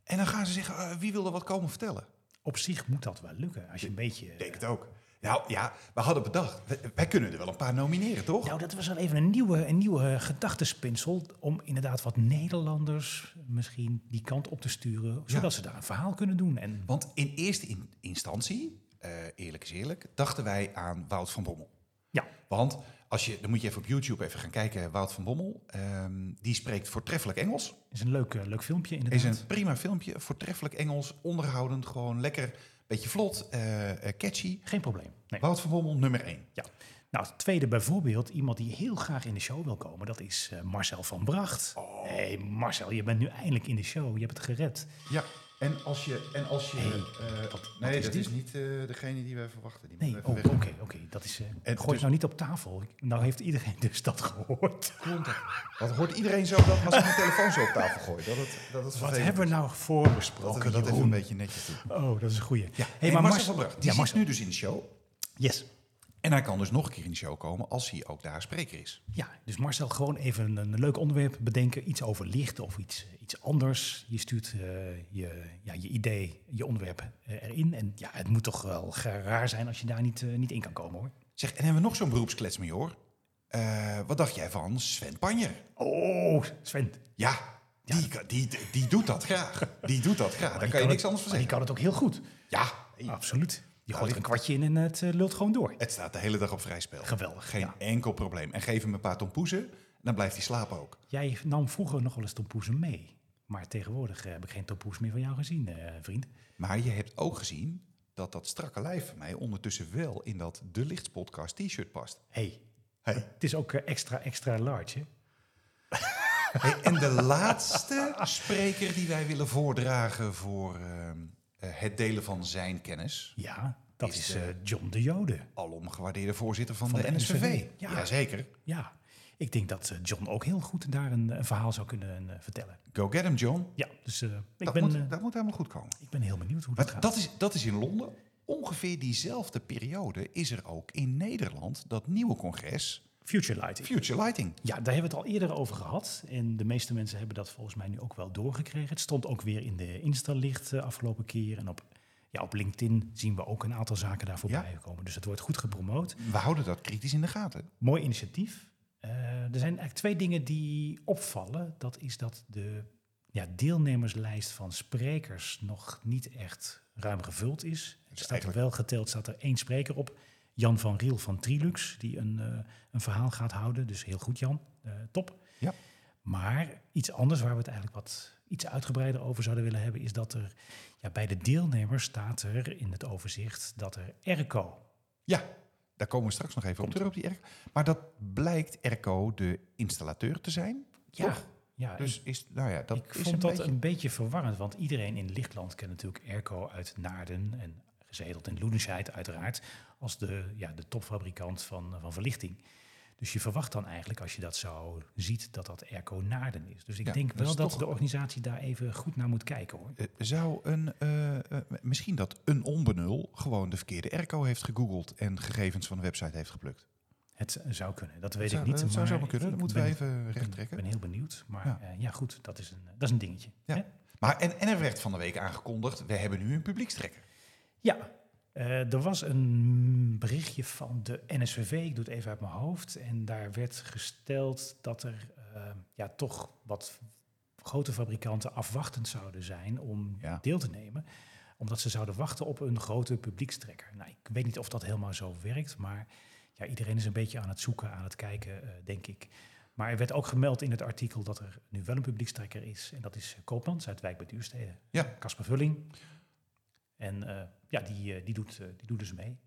En dan gaan ze zeggen, eh, wie wil er wat komen vertellen?
Op zich moet dat wel lukken, als je een beetje...
Ik denk het ook. Nou ja, we hadden bedacht, wij, wij kunnen er wel een paar nomineren, toch?
Nou, dat was wel even een nieuwe, een nieuwe gedachtespinsel om inderdaad wat Nederlanders misschien die kant op te sturen, zodat ze daar een verhaal kunnen doen. En
Want in eerste in- instantie eh, eerlijk is eerlijk, dachten wij aan Wout van Bommel.
Ja.
Want als je, dan moet je even op YouTube even gaan kijken, Wout van Bommel, ehm, die spreekt voortreffelijk Engels.
Is een leuk, eh, leuk filmpje
Is
inderdaad.
een prima filmpje, voortreffelijk Engels, onderhoudend, gewoon lekker, beetje vlot, eh, eh, catchy.
Geen probleem. Nee.
Wout van Bommel, nummer 1.
Ja. Nou, het tweede bijvoorbeeld, iemand die heel graag in de show wil komen, dat is eh, Marcel van Bracht.
Oh.
hey, Marcel, je bent nu eindelijk in de show. Je hebt het gered.
Ja, en als je... En als je eh, nee,
is
dat
die?
is niet eh, degene die wij verwachten. Die
Nee,
moeten
oh,
we
oké,
even weg.
oké. dat is. eh gooi
En
het
dus-
nou niet op tafel. Ik- Nou heeft iedereen [LAUGHS] dus dat gehoord. oh.
Wat hoort iedereen zo dat als ik mijn telefoon zo op tafel gooi? Dat het, dat het
Wat
vervelend
hebben we
is?
nou
Laten
voorbesproken?
we dat even een
Jeroen?
beetje netjes doen.
Oh, dat is een goeie. Ja.
Hey, maar Marcel van Bracht, die
ja,
zit
Marcel.
nu dus in de show.
Yes.
En hij kan dus nog een keer in de show komen als hij ook daar spreker is.
Ja, dus Marcel, gewoon even een, een leuk onderwerp bedenken. Iets over licht of iets, iets anders. Je stuurt eh, je, ja, je idee, je onderwerp eh, erin. En ja, het moet toch wel ga- raar zijn als je daar niet, eh, niet in kan komen hoor.
Zeg, en hebben we nog zo'n beroepsklets mee, hoor. Eh, wat dacht jij van Sven Panjer?
Oh, Sven.
Ja, die, kan- die, die, doet dat graag. Die doet dat graag. Daar kan je niks anders van
Die
zeggen.
Ah. kan het ook heel goed.
Ja,
Absoluut. Je gooit
die-
er een kwartje in en het eh, lult gewoon door.
het staat de hele dag op vrijspel.
Geweldig,
Geen
ja.
enkel probleem. En geef hem een paar tompoezen, dan blijft hij slapen ook.
Jij nam vroeger nog wel eens tompoezen mee. Maar tegenwoordig eh, heb ik geen tompoes meer van jou gezien, eh, vriend.
Maar je hebt ook gezien dat dat strakke lijf van mij ondertussen wel in dat De Lichtspodcast t-shirt past.
hey,
Hey.
het is ook eh, extra, extra large, hè?
Hey, en de laatste spreker die wij willen voordragen voor ehm, eh, het delen van zijn kennis.
Ja, dat
Is
is,
de-
eh, John de Jode.
Alom gewaardeerde voorzitter van,
Van
de,
de
NSVV.
NSVV, ja.
Jazeker.
Ja, ik denk dat eh, John ook heel goed daar een, een verhaal zou kunnen eh, vertellen.
Go get him, John.
Ja, dus eh, ik,
Dat,
ben,
moet,
eh,
dat moet helemaal goed komen.
ik ben heel benieuwd hoe dat
Maar
gaat.
dat is, dat is in Londen. Ongeveer diezelfde periode is er ook in Nederland dat nieuwe congres
Future Lighting.
Future Lighting.
Ja, daar hebben we het al eerder over gehad. En de meeste mensen hebben dat volgens mij nu ook wel doorgekregen. Het stond ook weer in de Insta-licht eh, afgelopen keer. En op, ja, op LinkedIn zien we ook een aantal zaken daar voorbij komen. Dus het wordt goed gepromoot.
We houden dat kritisch in de gaten.
Mooi initiatief. Eh, er zijn eigenlijk twee dingen die opvallen. Dat is dat de ja, deelnemerslijst van sprekers nog niet echt ruim gevuld is. Er staat er
eigenlijk-
wel geteld, staat er één spreker op. Jan van Riel van Trilux, die een, eh, een verhaal gaat houden. Dus heel goed, Jan. Eh, top.
Ja.
Maar iets anders waar we het eigenlijk wat iets uitgebreider over zouden willen hebben, is dat er ja, bij de deelnemers staat er in het overzicht dat er ERCO
Ja, daar komen we straks nog even op terug op die Erco. Maar dat blijkt Erco de installateur te zijn. Toch?
Ja,
Dus is, nou ja, dat
ik
is
vond
een
dat
beetje...
een beetje verwarrend, want iedereen in Lichtland kent natuurlijk Erco uit Naarden en gezeteld in Loedenscheid uiteraard als de, ja, de topfabrikant van, van verlichting. Dus je verwacht dan eigenlijk, als je dat zo ziet, dat dat Erco Naarden is. Dus ik
Ja,
denk
dat
wel
is
dat
toch-
de organisatie daar even goed naar moet kijken hoor.
Eh, zou een, eh, eh, misschien dat een onbenul gewoon de verkeerde Erco heeft gegoogeld en gegevens van de website heeft geplukt.
Het zou kunnen, dat weet
zou,
ik niet.
dat zou
maar
zomaar kunnen,
ik
dat moeten we
ben-
even recht
Ik
trekken.
ben heel benieuwd, maar
Ja.
ja, ja goed, dat is een, eh, dat is een dingetje.
Ja.
hè?
Maar en, en er werd van de week aangekondigd, we hebben nu een publiekstrekker.
Ja, eh, er was een berichtje van de NSVV, ik doe het even uit mijn hoofd. En daar werd gesteld dat er eh, ja, toch wat grote fabrikanten afwachtend zouden zijn om
Ja.
deel te nemen. Omdat ze zouden wachten op een grote publiekstrekker. Nou, ik weet niet of dat helemaal zo werkt, maar ja, iedereen is een beetje aan het zoeken, aan het kijken, eh, denk ik. Maar er werd ook gemeld in het artikel dat er nu wel een publiekstrekker is. En dat is eh, Koopmans uit Wijk bij Duurstede.
Ja.
Casper Vulling. En eh, ja, die, eh, die, doet, eh, die doet dus mee.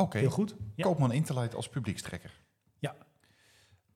Oké,
Heel goed. Ja.
Koopman Interlight als publiekstrekker.
Ja.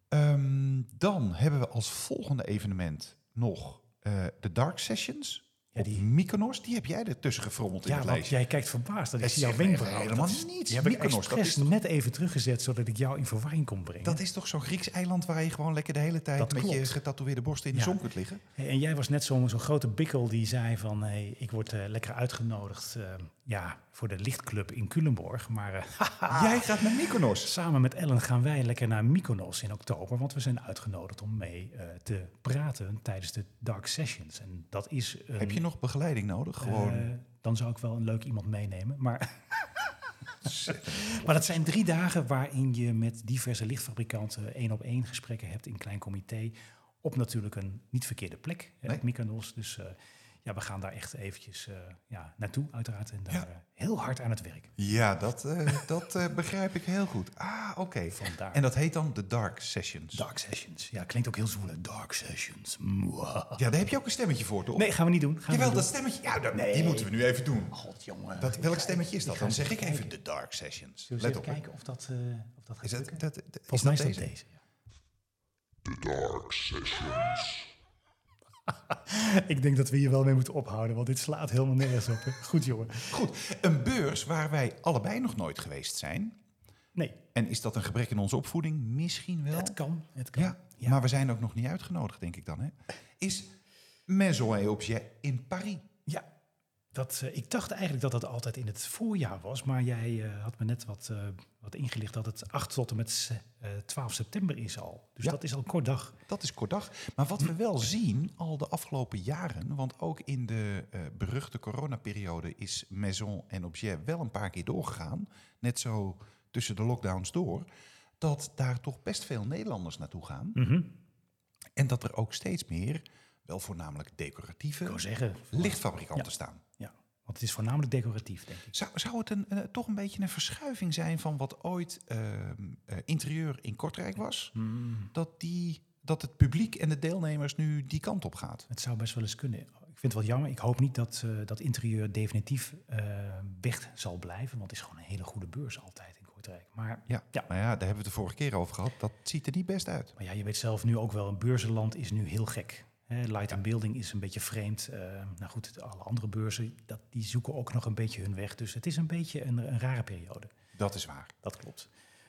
Ehm, dan hebben we als volgende evenement nog eh, de Dark Sessions.
Ja,
op
die-
Mykonos, die heb jij ertussen gefrommeld in
Ja,
het
want
lijstje.
jij kijkt verbaasd. Dat
Het
is jouw
zegt me
wenkbrauw.
helemaal
dat is,
niets.
Die heb ik
Mykonos, dat
expres
is toch-
net even teruggezet, zodat ik jou in verwarring kon brengen.
Dat is toch zo'n Grieks eiland waar je gewoon lekker de hele tijd
Dat
met je
klopt.
getatoeëerde borsten in de
Ja.
zon kunt liggen?
Hey, En jij was net zo'n zo'n grote bikkel die zei van... Hey, ik word eh, lekker uitgenodigd eh, ja, voor de lichtclub in Culemborg. Maar eh,
Jij gaat naar Mykonos.
samen met Ellen gaan wij lekker naar Mykonos in oktober. Want we zijn uitgenodigd om mee eh, te praten tijdens de Dark Sessions. En dat is een,
Heb je nog begeleiding nodig? Gewoon.
Eh, dan zou ik wel een leuk iemand meenemen.
[LAUGHS]
Maar, maar dat zijn drie dagen waarin je met diverse lichtfabrikanten één op één gesprekken hebt in klein comité. Op natuurlijk een niet verkeerde plek, eh,
Nee.
op Mykonos. Dus eh, ja, we gaan daar echt eventjes eh, ja, naartoe uiteraard. En daar
Ja.
eh, heel hard aan het werk.
Ja, dat, eh, [LAUGHS] dat eh, begrijp ik heel goed. Ah, oké.
Vandaar.
En dat heet dan de Dark Sessions.
Dark Sessions. Ja, klinkt ook heel zwoele. Dark Sessions. Mwah.
Ja, daar heb je ook een stemmetje voor, toch?
Nee, gaan we niet doen. Gaan we
Jawel,
niet
dat stemmetje. Ja, dat- die moeten we nu even doen.
doen. God, jongen.
Dat,
Ik
welk
ga-
stemmetje is dat?
ik ga
Dan zeg
eens
ik
kijken.
even de Dark Sessions.
Zullen we
Let
eens
op.
even
hè.
kijken of dat, eh, of dat gaat
Is dat,
lukken?
dat, dat- is
Volgens mij is
dat
dat deze. ja. [LAUGHS] ik denk dat we hier wel mee moeten ophouden, want dit slaat helemaal nergens op. hè. Goed, jongen.
Goed, een beurs waar wij allebei nog nooit geweest zijn.
Nee,
En is dat een gebrek in onze opvoeding? Misschien wel.
het kan. Het kan.
Ja, maar we zijn ook nog niet uitgenodigd, denk ik dan. Hè? Is Maison et Objet in Paris.
Ja, dat, eh, ik dacht eigenlijk dat dat altijd in het voorjaar was. Maar jij eh, had me net wat, eh, wat ingelicht dat het 8 tot en met se- eh, 12 september is al. Dus
Ja.
dat is al een kort dag.
Dat is kort dag. Maar wat we wel zien al de afgelopen jaren, want ook in de eh, beruchte coronaperiode is Maison en Objet wel een paar keer doorgegaan. Net zo tussen de lockdowns door. Dat daar toch best veel Nederlanders naartoe gaan. En dat er ook steeds meer, wel voornamelijk decoratieve,
Ik wou zeggen.
lichtfabrikanten staan.
Ja, want het is voornamelijk decoratief, denk ik.
Zou, zou het een, eh, toch een beetje een verschuiving zijn van wat ooit ehm, eh, interieur in Kortrijk was? Dat, die, dat het publiek en de deelnemers nu die kant op gaat?
Het zou best wel eens kunnen. Ik vind het wel jammer. Ik hoop niet dat eh, dat interieur definitief eh, weg zal blijven. Want het is gewoon een hele goede beurs altijd in Kortrijk. Maar
Ja,
Ja.
nou ja, daar hebben we het de vorige keer over gehad. Dat ziet er niet best uit.
Maar ja, je weet zelf nu ook wel, een beurzenland is nu heel gek. Hè, light and building is een beetje vreemd. Eh, nou goed, de- alle andere beurzen, dat, die zoeken ook nog een beetje hun weg. Dus het is een beetje een, een rare periode.
Dat is waar.
Dat klopt.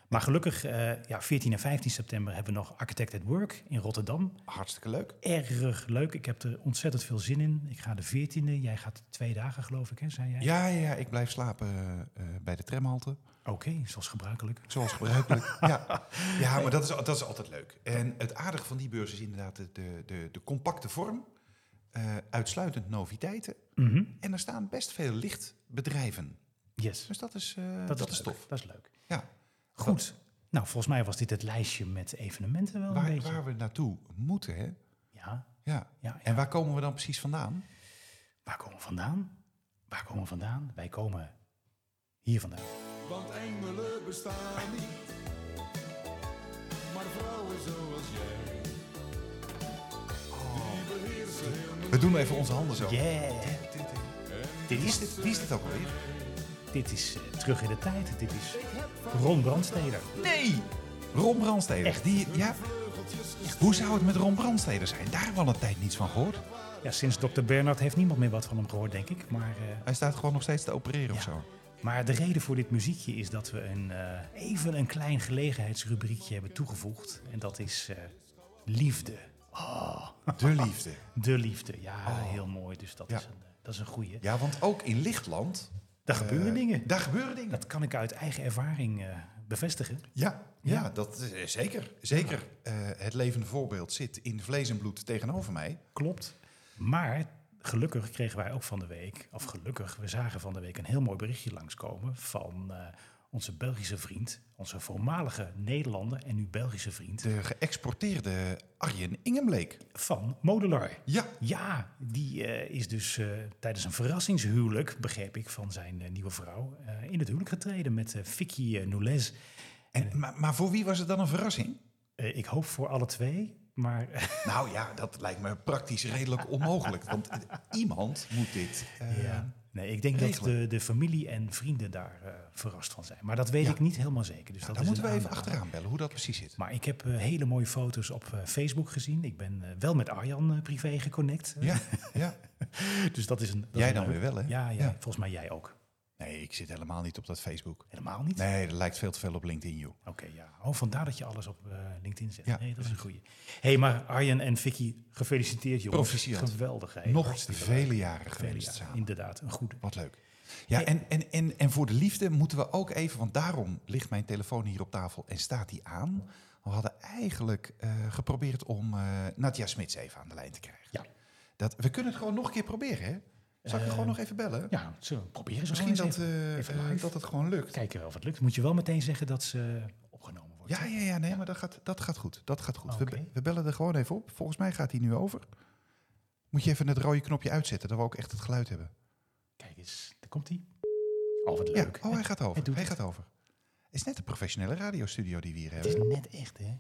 Maar gelukkig, eh, ja, 14 en 15 september hebben we nog Architect at Work in Rotterdam.
Hartstikke leuk.
Erg leuk. Ik heb er ontzettend veel zin in. Ik ga de 14e. Jij gaat twee dagen, geloof ik, hè, zei jij?
Ja, ja, ja, ik blijf slapen eh, eh, bij de tramhalte.
Oké, zoals gebruikelijk.
Zoals [LAUGHS] gebruikelijk. ja. ja, maar dat is, dat is altijd leuk. En het aardige van die beurs is inderdaad de, de, de, de compacte vorm. eh, uitsluitend noviteiten.
Mhm.
En er staan best veel lichtbedrijven.
Yes.
Dus dat is, eh,
Dat,
dat is
is leuk.
tof.
Dat is leuk.
Ja.
Goed. Nou, volgens mij was dit het lijstje met evenementen wel een
Waar,
beetje.
waar we naartoe moeten, hè?
Ja.
Ja.
Ja,
En waar komen we dan precies vandaan?
Waar komen we vandaan? Waar komen we vandaan? Wij komen hier vandaan.
Want engelen bestaan niet, maar vrouwen zoals jij. Die beheersen heel
We doen even onze handen zo.
Yeah!
Dit is dit, wie is dit ook alweer?
Dit is eh, terug in de tijd. Dit is Ron Brandsteder.
Nee! Ron Brandsteder.
Echt?
Die, ja. Hoe zou het met Ron Brandsteder zijn? Daar hebben we al een tijd niets van gehoord.
Ja, sinds Dr. Bernard heeft niemand meer wat van hem gehoord, denk ik. Maar, eh,
Hij staat gewoon nog steeds te opereren of zo.
maar de reden voor dit muziekje is dat we een, eh, even een klein gelegenheidsrubriekje hebben toegevoegd. En dat is eh, liefde.
De liefde.
[LAUGHS] De liefde. Ja, heel mooi. Dus dat
Ja.
is een, eh, dat is een goeie.
Ja, want ook in Lichtland...
Daar gebeuren
eh,
dingen.
Daar gebeuren dingen.
Dat kan ik uit eigen ervaring eh, bevestigen.
Ja, ja, dat eh, zeker. Zeker. Eh, het levende voorbeeld zit in vlees en bloed tegenover mij.
Klopt. Maar gelukkig kregen wij ook van de week, of gelukkig, we zagen van de week een heel mooi berichtje langskomen van eh, onze Belgische vriend, onze voormalige Nederlander en nu Belgische vriend,
De geëxporteerde Arjen Ingenbleek.
van Modelar.
Ja,
Ja, die eh, is dus eh, tijdens een verrassingshuwelijk, begreep ik, van zijn eh, nieuwe vrouw, eh, in het huwelijk getreden met eh Vicky eh, Nulez.
en, maar, maar voor wie was het dan een verrassing?
Eh, ik hoop voor alle twee, maar eh,
Nou ja, dat lijkt me praktisch redelijk onmogelijk. Want eh, iemand moet dit. eh,
Ja. [LAUGHS] Nee, ik denk dat de,
regelen.
de familie en vrienden daar eh, verrast van zijn. Maar dat weet
Ja.
ik niet helemaal zeker. Dus dat
daar
is
moeten we
een
even
aanname.
achteraan bellen hoe dat precies zit.
Maar ik heb eh, hele mooie foto's op eh, Facebook gezien. Ik ben eh, wel met Arjan eh, privé geconnect.
Ja,
[LAUGHS]
ja.
Dus dat is een. dat is
Jij
een
dan
leuk.
weer wel, hè?
Ja, ja,
Ja.
volgens mij jij ook.
Nee, ik zit helemaal niet op dat Facebook.
Helemaal niet?
Nee, dat lijkt veel te veel op LinkedIn, joh.
Oké, ja. Oh, vandaar dat je alles op eh, LinkedIn zet.
Ja,
nee, dat is een goeie. Hé, hey, maar Arjan en Vicky, gefeliciteerd jongens.
Proficiat.
Geweldig, hè?
Nog
Hartstikke
vele
leuk.
jaren
Vele
geweest
jaren.
samen.
Inderdaad, een goede.
Wat leuk. Ja, en, en, en, en voor de liefde moeten we ook even, want daarom ligt mijn telefoon hier op tafel en staat die aan. We hadden eigenlijk eh, geprobeerd om eh Nadja Smits even aan de lijn te krijgen.
Ja. Eh,
Dat, we kunnen het gewoon nog een keer proberen, hè? Zal ik er gewoon nog even bellen?
Ja, zullen we proberen zo
Misschien
eens
dat,
even.
eh,
even
eh,
live.
dat het gewoon lukt.
Kijken of het lukt. Moet je wel meteen zeggen dat ze eh, opgenomen wordt.
Ja, ja, ja, nee, maar dat gaat, dat gaat goed. Dat gaat goed. We,
Oké.
be- we bellen er gewoon even op. Volgens mij gaat hij nu over. Moet je even het rode knopje uitzetten, dat we ook echt het geluid hebben.
Kijk eens, daar komt hij. Oh, wat leuk.
Ja, oh, hij gaat over.
doet
hij
het.
gaat over. Het is net een professionele radiostudio die we hier
Het is
hebben.
net echt, hè?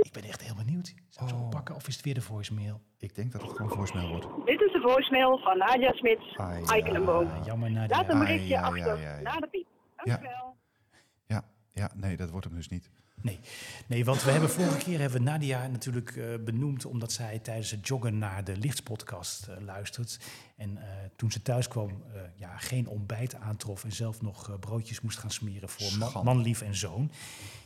Ik ben echt heel benieuwd. Zou ik het
Oh.
oppakken of is het weer de voicemail?
Ik denk dat het gewoon voicemail wordt.
Dit is de voicemail van Nadia Smits,
Ah, ja.
Eikelenboom.
Ah, jammer, Nadia.
Oh. Laat een
ja,
berichtje
ja, ja,
achter
ja, ja.
na de piep. Dankjewel.
Ja, ja, nee, dat wordt hem dus niet.
Nee. nee, want we hebben vorige keer hebben we Nadia natuurlijk eh, benoemd... omdat zij tijdens het joggen naar de Lichtspodcast eh, luistert. En eh, toen ze thuis kwam, eh, ja, geen ontbijt aantrof... en zelf nog eh, broodjes moest gaan smeren voor man,
Schande.
manlief en zoon.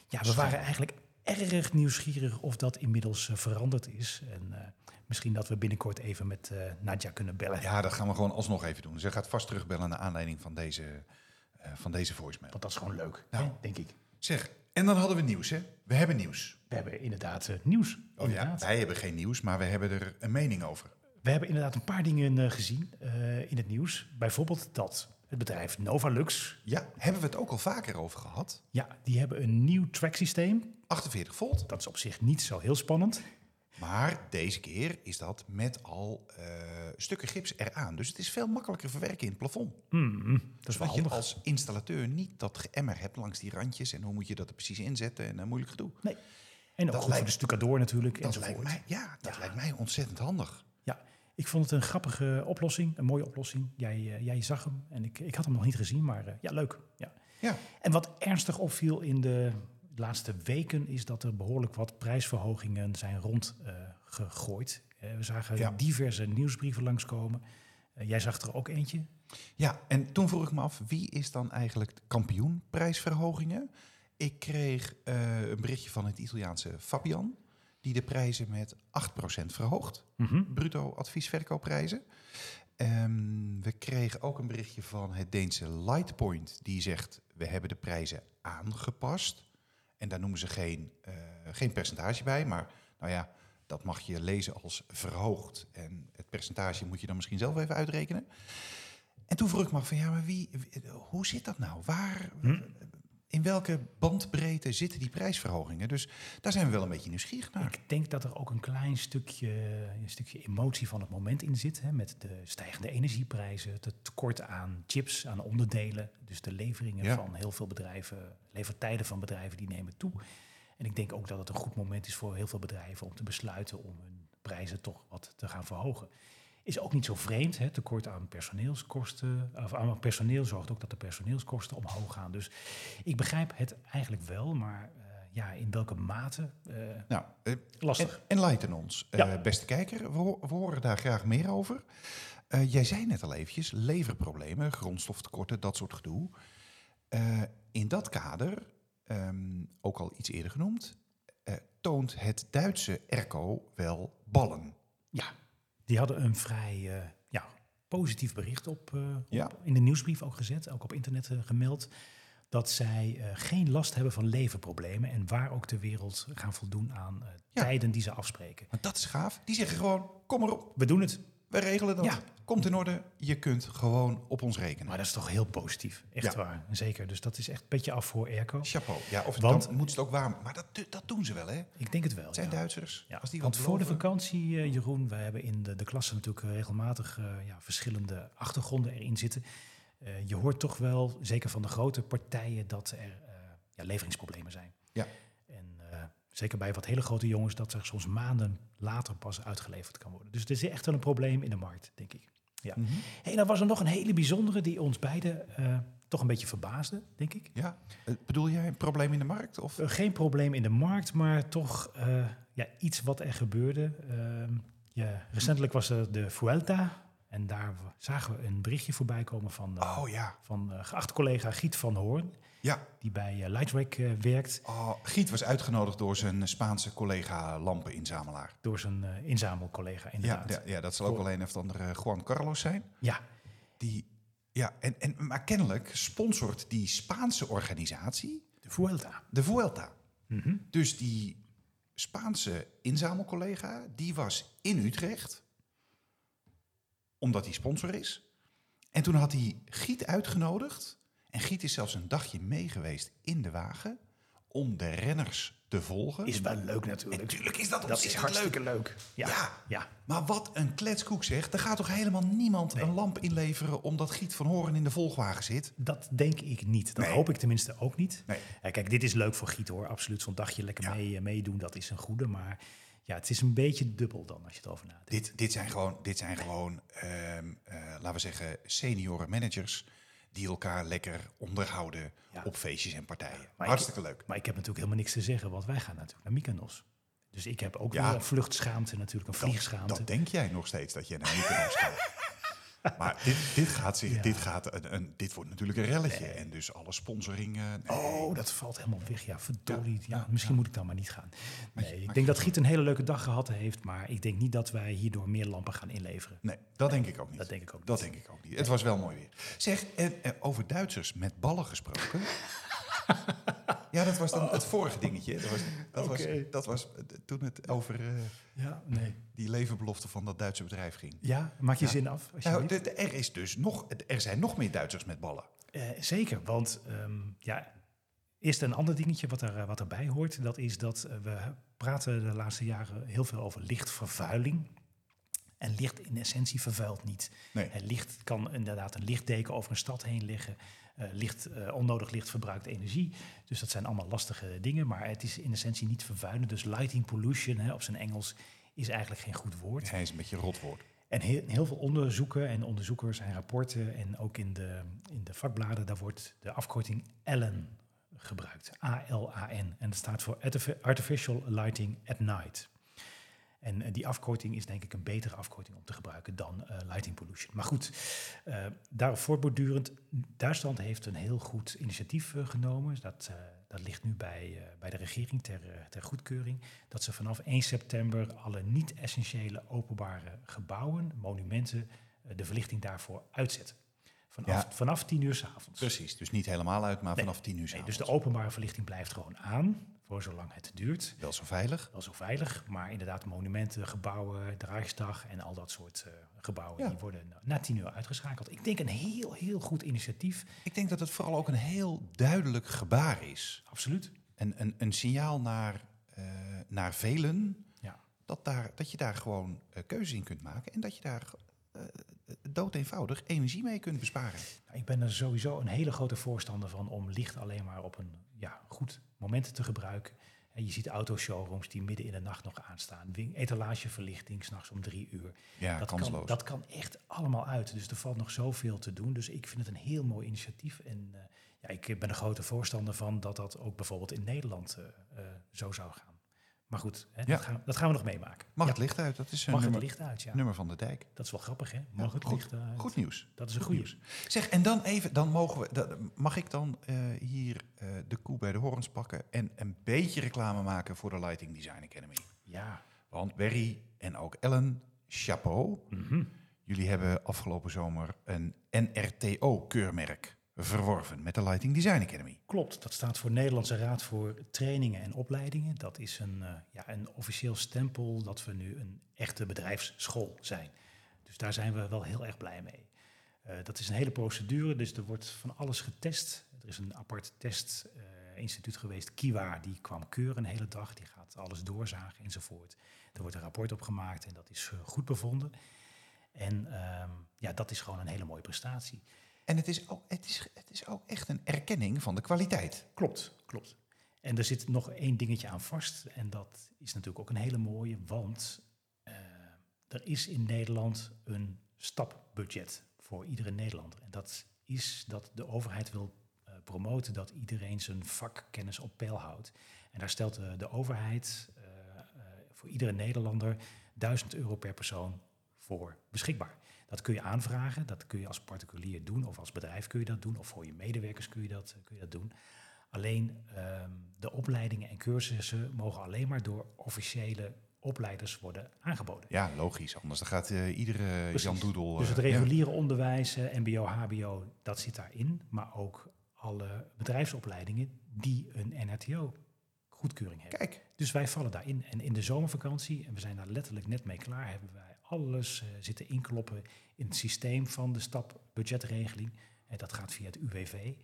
Ja, we waren eigenlijk erg nieuwsgierig of dat inmiddels eh, veranderd is. En eh, misschien dat we binnenkort even met eh, Nadia kunnen bellen.
Ja, dat gaan we gewoon alsnog even doen. Ze gaat vast terugbellen naar aanleiding van deze, eh, van deze voicemail.
Want dat is gewoon leuk,
Nou.
hè, denk ik.
Zeg, en dan hadden we nieuws, hè? We hebben nieuws.
We hebben inderdaad eh, nieuws.
Oh ja,
inderdaad.
wij hebben geen nieuws, maar we hebben er een mening over.
We hebben inderdaad een paar dingen eh, gezien eh, in het nieuws. Bijvoorbeeld dat het bedrijf Novalux,
Ja, hebben we het ook al vaker over gehad?
ja, die hebben een nieuw tracksysteem.
48 volt.
Dat is op zich niet zo heel spannend.
Maar deze keer is dat met al eh, stukken gips eraan. Dus het is veel makkelijker verwerken in het plafond.
Dat is wel
Zodat je
handig.
als installateur niet dat geëmmer hebt langs die randjes. En hoe moet je dat er precies inzetten en eh, moeilijk gedoe.
Nee. En ook goed voor
lijkt-
de stucadoor natuurlijk
Dat
enzovoort.
lijkt mij, ja, dat lijkt mij ontzettend handig.
Ja, ik vond het een grappige oplossing, een mooie oplossing. Jij, eh, jij zag hem en ik, ik had hem nog niet gezien, maar eh, ja, leuk. Ja.
Ja,
En wat ernstig opviel in de laatste weken is dat er behoorlijk wat prijsverhogingen zijn rondgegooid. Eh, we zagen
Ja.
diverse nieuwsbrieven langskomen. Eh, jij zag er ook eentje.
ja, en toen vroeg ik me af, wie is dan eigenlijk de kampioen prijsverhogingen? Ik kreeg eh, een berichtje van het Italiaanse Fabian, die de prijzen met 8% verhoogt. Bruto adviesverkoopprijzen. Ehm, we kregen ook een berichtje van het Deense Lightpoint, die zegt, we hebben de prijzen aangepast. En daar noemen ze geen, eh, geen percentage bij, maar nou ja, dat mag je lezen als verhoogd. En het percentage moet je dan misschien zelf even uitrekenen. En toen vroeg ik me af van ja, maar wie, wie- hoe zit dat nou? Waar, in welke bandbreedte zitten die prijsverhogingen? Dus daar zijn we wel een beetje nieuwsgierig naar.
Ik denk dat er ook een klein stukje, een stukje emotie van het moment in zit. Hè, met de stijgende energieprijzen, het tekort aan chips, aan onderdelen. Dus de leveringen
Ja.
van heel veel bedrijven, levertijden van bedrijven, die nemen toe. En ik denk ook dat het een goed moment is voor heel veel bedrijven om te besluiten om hun prijzen toch wat te gaan verhogen. Is ook niet zo vreemd. Hè? Tekort aan personeelskosten. Of aan personeel zorgt ook dat de personeelskosten omhoog gaan. Dus ik begrijp het eigenlijk wel, maar eh, ja, in welke mate eh,
Nou, eh,
Lastig.
en- enlighten ons, eh,
Ja.
beste kijker. We, ho- we horen daar graag meer over. Eh, jij zei net al eventjes, leverproblemen, grondstoftekorten, dat soort gedoe. Eh, in dat kader, ehm, ook al iets eerder genoemd, eh, toont het Duitse airco wel ballen.
Ja, die hadden een vrij eh, ja, positief bericht op, eh,
Ja.
op- in de nieuwsbrief ook gezet, ook op internet eh, gemeld. Dat zij eh, geen last hebben van levenproblemen en waar ook ter wereld gaan voldoen aan eh,
Ja.
tijden die ze afspreken.
Maar dat is gaaf. Die zeggen gewoon, kom erop,
We doen het,
we regelen dat.
Ja.
Komt in orde, je kunt gewoon op ons rekenen.
maar dat is toch heel positief, echt
Ja.
waar, zeker. Dus dat is echt petje af voor Erco.
Chapeau. Ja, of
Want-
dan moet ze het ook warm. Maar dat, dat doen ze wel, hè? Het
Ik denk het wel.
zijn
ja.
Duitsers.
Ja,
Als die
want
wat
voor de
beloven.
vakantie, eh, Jeroen, we hebben in de, de klasse natuurlijk eh, regelmatig eh, ja, verschillende achtergronden erin zitten. Eh, je hoort toch wel, zeker van de grote partijen, dat er eh, ja, leveringsproblemen zijn.
Ja.
En eh, zeker bij wat hele grote jongens, dat er soms maanden later pas uitgeleverd kan worden. Dus er is echt wel een probleem in de markt, denk ik. Ja. Hey, dan was er nog een hele bijzondere die ons beiden eh, toch een beetje verbaasde, denk ik.
Ja, eh, bedoel jij een probleem in de markt? Of?
Eh, geen probleem in de markt, maar toch eh, ja, iets wat er gebeurde. Ehm, ja, recentelijk was er de Vuelta en daar w- zagen we een berichtje voorbij komen van, eh,
Oh ja,
van eh, geachte collega Giet van Hoorn,
ja.
die bij eh, Lighttrack eh, werkt,
Oh, Giet was uitgenodigd door zijn eh, Spaanse collega lampeninzamelaar.
door zijn eh, inzamelcollega
Ja,
inderdaad.
ja, ja, dat zal ook wel een of andere eh, Juan Carlos zijn.
ja.
Die, ja, en, en, maar kennelijk sponsort die Spaanse organisatie
de Vuelta.
de Vuelta. Dus die Spaanse inzamelcollega, die was in Utrecht, omdat hij sponsor is. En toen had hij Giet uitgenodigd. En Giet is zelfs een dagje meegeweest in de wagen om de renners te volgen.
Is wel leuk natuurlijk.
Natuurlijk is dat
dat is
ontzettend
hartstikke leuk. Ja.
Ja.
ja.
Maar wat een kletskoek zegt. Er gaat toch helemaal niemand een lamp inleveren omdat Giet van Horen in de volgwagen zit?
Dat denk ik niet. Dat
Nee.
hoop ik tenminste ook niet.
Nee.
Eh, kijk, dit is leuk voor Giet hoor. Absoluut zo'n dagje lekker
Ja.
mee, eh, meedoen, dat is een goede. Maar ja, het is een beetje dubbel dan als je het over nadenkt.
Dit, dit zijn gewoon, dit zijn gewoon ehm, eh, laten we zeggen, senioren managers die elkaar lekker onderhouden
Ja.
op feestjes en partijen.
Maar
Hartstikke
ik,
leuk.
Maar ik heb natuurlijk helemaal niks te zeggen, want wij gaan natuurlijk naar Mykonos. Dus ik heb ook
Ja.
weer een vluchtschaamte natuurlijk, een vliegschaamte.
Dat denk jij nog steeds dat je naar Mykonos gaat. Maar dit, dit, gaat zich,
Ja.
dit, gaat een, een, dit wordt natuurlijk een relletje. En dus alle sponsoring. eh, nee.
Oh, dat valt helemaal weg. Ja, verdorie. Ja,
ja,
misschien moet ik dan maar niet gaan. Nee, ik
maak
denk dat Giet een hele leuke dag gehad heeft. Maar ik denk niet dat wij hierdoor meer lampen gaan inleveren.
Nee, dat denk ik ook niet.
dat denk ik ook
Dat denk ik ook niet. Het was wel mooi weer. Zeg, en, eh, over Duitsers met ballen
[LAUGHS]
gesproken. ja, dat was dan het vorige dingetje. Dat was, dat was,
Oké.
dat was eh, toen het over eh,
Ja, nee.
die levenbelofte van dat Duitse bedrijf ging.
Ja, maak je zin af? Als je
Nou,
weet?
de- de- er, is dus nog, er zijn nog meer Duitsers met ballen.
Eh, zeker, want ehm, ja, eerst een ander dingetje wat, er, eh, wat erbij hoort. Dat is dat eh, we praten de laatste jaren heel veel over lichtvervuiling. En licht in essentie vervuilt niet.
Nee.
Eh, licht kan inderdaad een lichtdeken over een stad heen leggen. Eh, licht, eh, onnodig licht verbruikt energie. Dus dat zijn allemaal lastige dingen. Maar het is in essentie niet vervuilend. Dus lighting pollution hè, op zijn Engels is eigenlijk geen goed woord.
Hij is een beetje een rotwoord.
En heel, in heel veel onderzoeken en onderzoekers en rapporten en ook in de, in de vakbladen, daar wordt de afkorting ALAN gebruikt. A-L-A-N. En dat staat voor Artifi- Artificial Lighting at Night. En eh, die afkorting is denk ik een betere afkorting om te gebruiken dan eh, lighting pollution. Maar goed, eh daarop voortbordurend, Duitsland heeft een heel goed initiatief eh, genomen. Dat, eh, dat ligt nu bij, eh, bij de regering ter, eh, ter goedkeuring. Dat ze vanaf 1 september alle niet-essentiële openbare gebouwen, monumenten, eh, de verlichting daarvoor uitzetten. Vanaf,
Ja.
vanaf 10 uur s'avonds.
Precies, dus niet helemaal uit, maar vanaf tien uur
Nee,
s'avonds.
dus de openbare verlichting blijft gewoon aan, voor zolang het duurt
Wel zo veilig.
wel zo veilig, maar inderdaad monumenten, gebouwen, de Rijksdag en al dat soort eh, gebouwen,
Ja.
die worden na tien uur uitgeschakeld. Ik denk een heel, heel goed initiatief,
Ik denk dat het vooral ook een heel duidelijk gebaar is.
absoluut.
Een, een, een signaal naar, eh, naar velen
Ja.
dat, daar, dat je daar gewoon eh, keuzes in kunt maken. En dat je daar eh, eh, dood eenvoudig energie mee kunt besparen.
Nou, ik ben er sowieso een hele grote voorstander van om licht alleen maar op een ja, goed moment te gebruiken. En je ziet autoshowrooms die midden in de nacht nog aanstaan, Wing- etalageverlichting s'nachts om drie uur.
Ja,
dat,
kansloos.
kan, dat kan echt allemaal uit. Dus er valt nog zoveel te doen. Dus ik vind het een heel mooi initiatief. En eh, ja, ik ben een grote voorstander van dat dat ook bijvoorbeeld in Nederland eh, eh, zo zou gaan. Maar goed, hè,
Ja.
dat, gaan, dat gaan we nog meemaken.
Mag
Ja,
het licht uit? Dat is een
mag
nummer,
het licht uit, ja.
nummer van de dijk.
Dat is wel grappig, hè?
Ja,
Mag het
goed,
licht uit?
Goed nieuws.
Dat is een goede.
Zeg, en dan even, dan mogen we, dat- mag ik dan eh, hier eh, de koe bij de horens pakken en een beetje reclame maken voor de Lighting Design Academy?
Ja,
Want Berry en ook Ellen, chapeau.
Mhm.
Jullie hebben afgelopen zomer een NRTO-keurmerk verworven met de Lighting Design Academy.
Klopt, dat staat voor Nederlandse Raad voor Trainingen en Opleidingen. Dat is een, eh, ja, een officieel stempel dat we nu een echte bedrijfsschool zijn. Dus daar zijn we wel heel erg blij mee. Eh, dat is een hele procedure, dus er wordt van alles getest. Er is een apart testinstituut geweest, Kiwa, die kwam keuren een hele dag. Die gaat alles doorzagen enzovoort. Er wordt een rapport op gemaakt en dat is eh, goed bevonden. En ehm, ja, dat is gewoon een hele mooie prestatie.
En het is, ook, het, is, het is ook echt een erkenning van de kwaliteit.
Klopt, klopt. En er zit nog één dingetje aan vast. En dat is natuurlijk ook een hele mooie, want eh, er is in Nederland een stapbudget voor iedere Nederlander. En dat is dat de overheid wil eh, promoten dat iedereen zijn vakkennis op peil houdt. En daar stelt de, de overheid eh, eh, voor iedere Nederlander 1000 euro per persoon voor beschikbaar. Dat kun je aanvragen, dat kun je als particulier doen, of als bedrijf kun je dat doen, of voor je medewerkers kun je dat, eh, kun je dat doen. Alleen ehm, de opleidingen en cursussen mogen alleen maar door officiële opleiders worden aangeboden.
Ja, logisch. Anders dan gaat eh, iedere Jan
Precies.
Doedel... eh,
Dus het
ja.
reguliere onderwijs, eh, MBO, HBO, dat zit daarin. Maar ook alle bedrijfsopleidingen die een NRTO-goedkeuring hebben.
Kijk,
Dus wij vallen daarin. En in de zomervakantie, en we zijn daar letterlijk net mee klaar, hebben wij alles eh, zitten inkloppen in het systeem van de stap budgetregeling. En dat gaat via het UWV.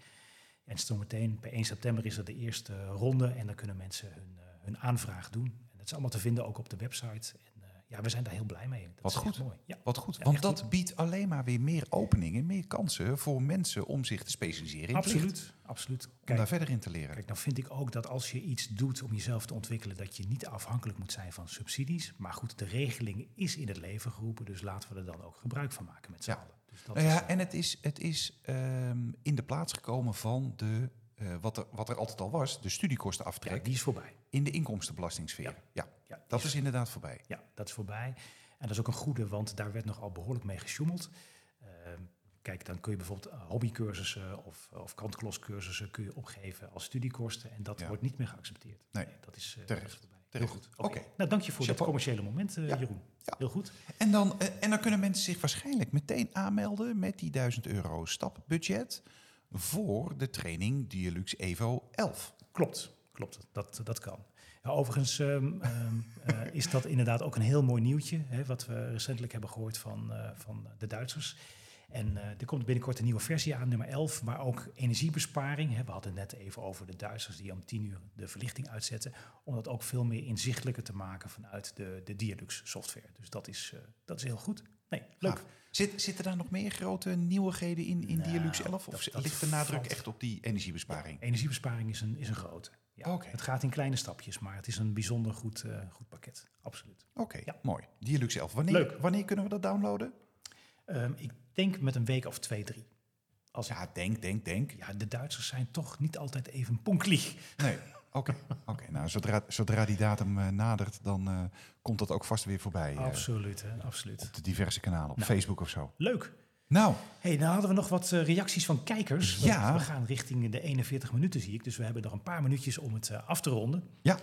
En zometeen, per 1 september, is er de eerste ronde. En dan kunnen mensen hun, eh, hun aanvraag doen. En dat is allemaal te vinden ook op de website. En, eh, ja, we zijn daar heel blij mee. Dat
Wat
is echt
goed.
mooi. Ja.
Wat goed,
Ja,
want
echt
dat
goed.
biedt alleen maar weer meer openingen, meer kansen voor mensen om zich te specialiseren in het licht.
Absoluut, absoluut.
Om
Kijk,
daar verder in te leren.
Kijk, dan vind ik ook dat als je iets doet om jezelf te ontwikkelen, dat je niet afhankelijk moet zijn van subsidies. Maar goed, de regeling is in het leven geroepen, dus laten we er dan ook gebruik van maken met z'n
Ja.
allen. Dus dat
Nou
is,
ja,
eh,
en het is, het is ehm, in de plaats gekomen van de, eh, wat, er, wat er altijd al was, de
ja,
studiekostenaftrek
die is voorbij.
in de inkomstenbelastingsfeer. Ja,
Ja. Ja, die
dat is inderdaad voorbij.
Ja, dat is voorbij. En dat is ook een goede, want daar werd nogal behoorlijk mee gesjoemeld. Ehm, kijk, dan kun je bijvoorbeeld eh, hobbycursussen of, of kantklosscursussen kun je opgeven als studiekosten. En dat
Ja.
wordt niet meer geaccepteerd.
Nee,
dat is, eh,
terecht.
dat is voorbij.
Terecht.
Heel goed. Oké.
Oké.
Nou, dank je voor dit
Chapeau.
commerciële moment, eh,
Ja.
Jeroen.
Ja.
Heel goed.
En dan, eh, en dan kunnen mensen zich waarschijnlijk meteen aanmelden met die 1000 euro stapbudget voor de training Dialux Evo 11.
Klopt, klopt. Dat, dat kan. Ja, overigens ehm, [LAUGHS] ehm, eh, is dat inderdaad ook een heel mooi nieuwtje, hè, wat we recentelijk hebben gehoord van, eh, van de Duitsers. En eh, er komt binnenkort een nieuwe versie aan, nummer 11, maar ook energiebesparing. Hè. We hadden het net even over de Duitsers die om 10 uur de verlichting uitzetten, om dat ook veel meer inzichtelijker te maken vanuit de, de Dialux software. Dus dat is, eh, dat is heel goed. Nee, leuk.
Gaaf. Zit, zitten daar nog meer grote nieuwigheden in, in
Nou,
Dialux 11? Of
dat- dat
ligt de nadruk
valt-
echt op die energiebesparing?
Energiebesparing is een, is een grote. Ja,
Oké.
Het gaat in kleine stapjes, maar het is een bijzonder goed, eh, goed pakket. Absoluut.
Oké,
Ja.
mooi. Dialux 11. Wanneer,
Leuk.
wanneer kunnen we dat downloaden?
Ehm, ik denk met een week of twee, drie. Als ja.
Ja, denk, denk, denk.
ja, de Duitsers zijn toch niet altijd even ponklieg.
Nee, oké. oké. Nou, zodra, zodra die datum eh, nadert, dan eh, komt dat ook vast weer voorbij. eh,
Absoluut, hè? absoluut.
op de diverse kanalen, op Facebook of zo.
Leuk.
Nou,
hey, dan hadden we nog wat eh, reacties van kijkers. Want
Ja.
We gaan richting de 41 minuten, zie ik. Dus we hebben nog een paar minuutjes om het eh, af te ronden.
ja.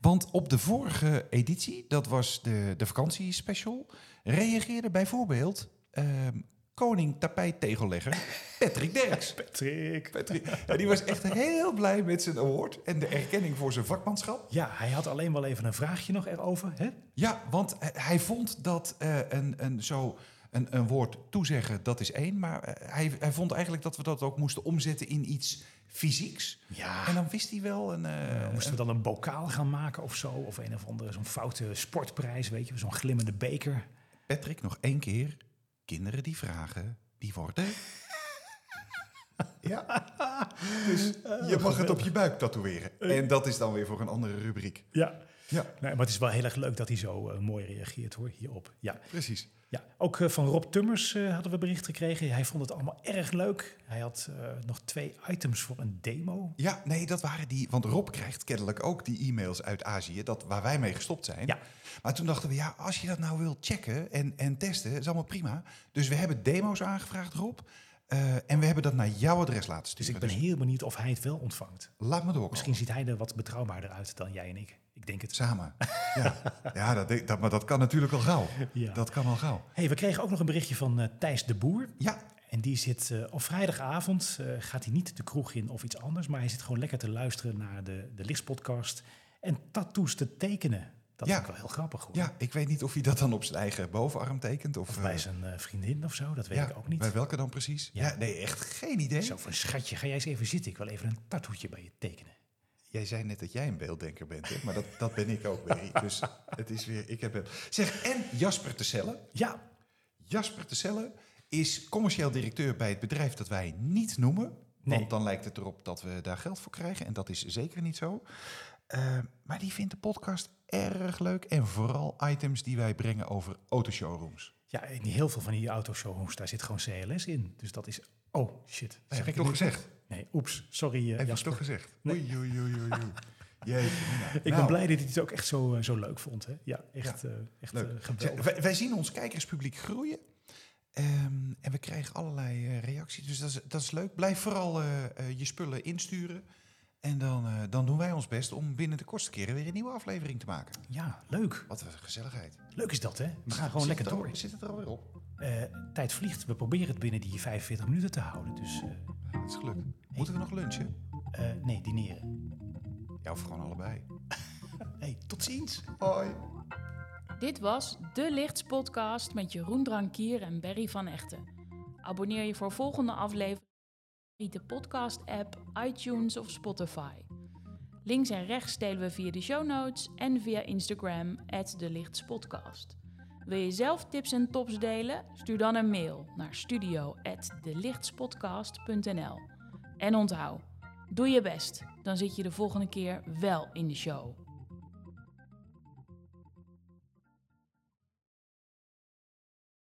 Want op de vorige editie, dat was de, de vakantiespecial, reageerde bijvoorbeeld ehm, koning tapijt tegellegger Patrick Derks.
Patrick.
Patrick, ja, die was echt heel blij met zijn award en de erkenning voor zijn vakmanschap.
Ja, hij had alleen wel even een vraagje nog erover. Hè?
Ja, want eh, hij vond dat eh, een, een, zo een, een woord toezeggen, dat is één. Maar eh, hij, hij vond eigenlijk dat we dat ook moesten omzetten in iets fysieks.
Ja.
En dan wist hij wel een... eh,
Moesten we dan een bokaal gaan maken of zo? Of een of andere, zo'n foute sportprijs, weet je? Zo'n glimmende beker.
Patrick, nog één keer. Kinderen die vragen, die worden... ja. Dus je mag het op je buik tatoeëren. En dat is dan weer voor een andere rubriek.
Ja.
Eh. Ja,
Nee, maar het is wel heel erg leuk dat hij zo eh, mooi reageert hoor, hierop. Ja.
precies.
Ja, ook eh, van Rob Tummers eh, hadden we bericht gekregen. Hij vond het allemaal erg leuk. Hij had eh, nog twee items voor een demo.
Ja, nee, dat waren die. Want Rob krijgt kennelijk ook die e-mails uit Azië, dat, waar wij mee gestopt zijn.
Ja.
Maar toen dachten we, ja, als je dat nou wilt checken en, en testen, is allemaal prima. Dus we hebben demo's aangevraagd, Rob. eh, en we hebben dat naar jouw adres laten
Dus
sturen.
ik ben heel benieuwd of hij het wel ontvangt.
laat me door.
Misschien ziet hij er wat betrouwbaarder uit dan jij en ik. Ik denk het. [LAUGHS]
Samen. Ja, ja dat, denk- dat, maar dat kan natuurlijk al gauw.
Ja.
Dat kan al gauw.
hey, we kregen ook nog een berichtje van eh, Thijs de Boer.
Ja,
En die zit eh, op vrijdagavond, eh, gaat hij niet de kroeg in of iets anders, maar hij zit gewoon lekker te luisteren naar de, de Lichtspodcast en tattoos te tekenen. Dat
Ja.
vind ik wel heel grappig hoor.
ja, ik weet niet of hij dat dan op zijn eigen bovenarm tekent. Of,
Of bij
eh,
zijn eh, vriendin of zo, dat weet
ja,
ik ook niet.
Bij welke dan precies? Ja,
Ja.
nee, echt geen idee.
Zo van, schatje, ga jij eens even zitten. Ik wil even een tattoetje bij je tekenen.
Jij zei net dat jij een beelddenker bent, hè? maar dat, dat ben ik ook, Berry. Dus het is weer, ik heb hem. Zeg, en Jasper Tesselle.
Ja,
Jasper Tesselle is commercieel directeur bij het bedrijf dat wij niet noemen. Want
Nee.
dan lijkt het erop dat we daar geld voor krijgen. En dat is zeker niet zo. Eh, maar die vindt de podcast erg leuk. En vooral items die wij brengen over autoshowrooms.
ja en heel veel van die autoshowrooms, daar zit gewoon CLS in. Dus dat is, oh shit. Zeg
Heb ik
het
nog
nu?
gezegd?
Nee, oeps, sorry eh,
Heb ik
Jasper.
toch gezegd? Oei, oei, oei, oei, oei. Jeetje, mina.
Ik ben
Nou.
blij dat hij het ook echt zo, eh, zo leuk vond. Hè? Ja, echt, eh, echt
Leuk.
eh,
Zeg,
geweldig.
wij, wij zien ons kijkerspubliek groeien. Ehm, en we krijgen allerlei eh, reacties. Dus dat is, dat is leuk. Blijf vooral eh, eh, je spullen insturen. En dan, eh, dan doen wij ons best om binnen de kortste keren weer een nieuwe aflevering te maken.
Ja, leuk.
Wat een gezelligheid.
Leuk is dat, hè? We gaan
Zit
gewoon lekker
het er al-
door.
Zit het er alweer op?
Eh, tijd vliegt. We proberen het binnen die 45 minuten te houden. Dus eh,
Ja, dat is gelukt. Moeten we nog lunchen?
eh, nee, dineren.
Ja, of gewoon allebei.
Hey, tot ziens.
Hoi.
Dit was De Lichts Podcast met Jeroen Drankier en Berry van Echten. Abonneer je voor volgende aflevering. favoriete podcast-app, iTunes of Spotify. Links en rechts delen we via de show notes en via Instagram, @delichtspodcast. Wil je zelf tips en tops delen? Stuur dan een mail naar studio@delichtspodcast.nl. En onthoud, doe je best, dan zit je de volgende keer wel in de show.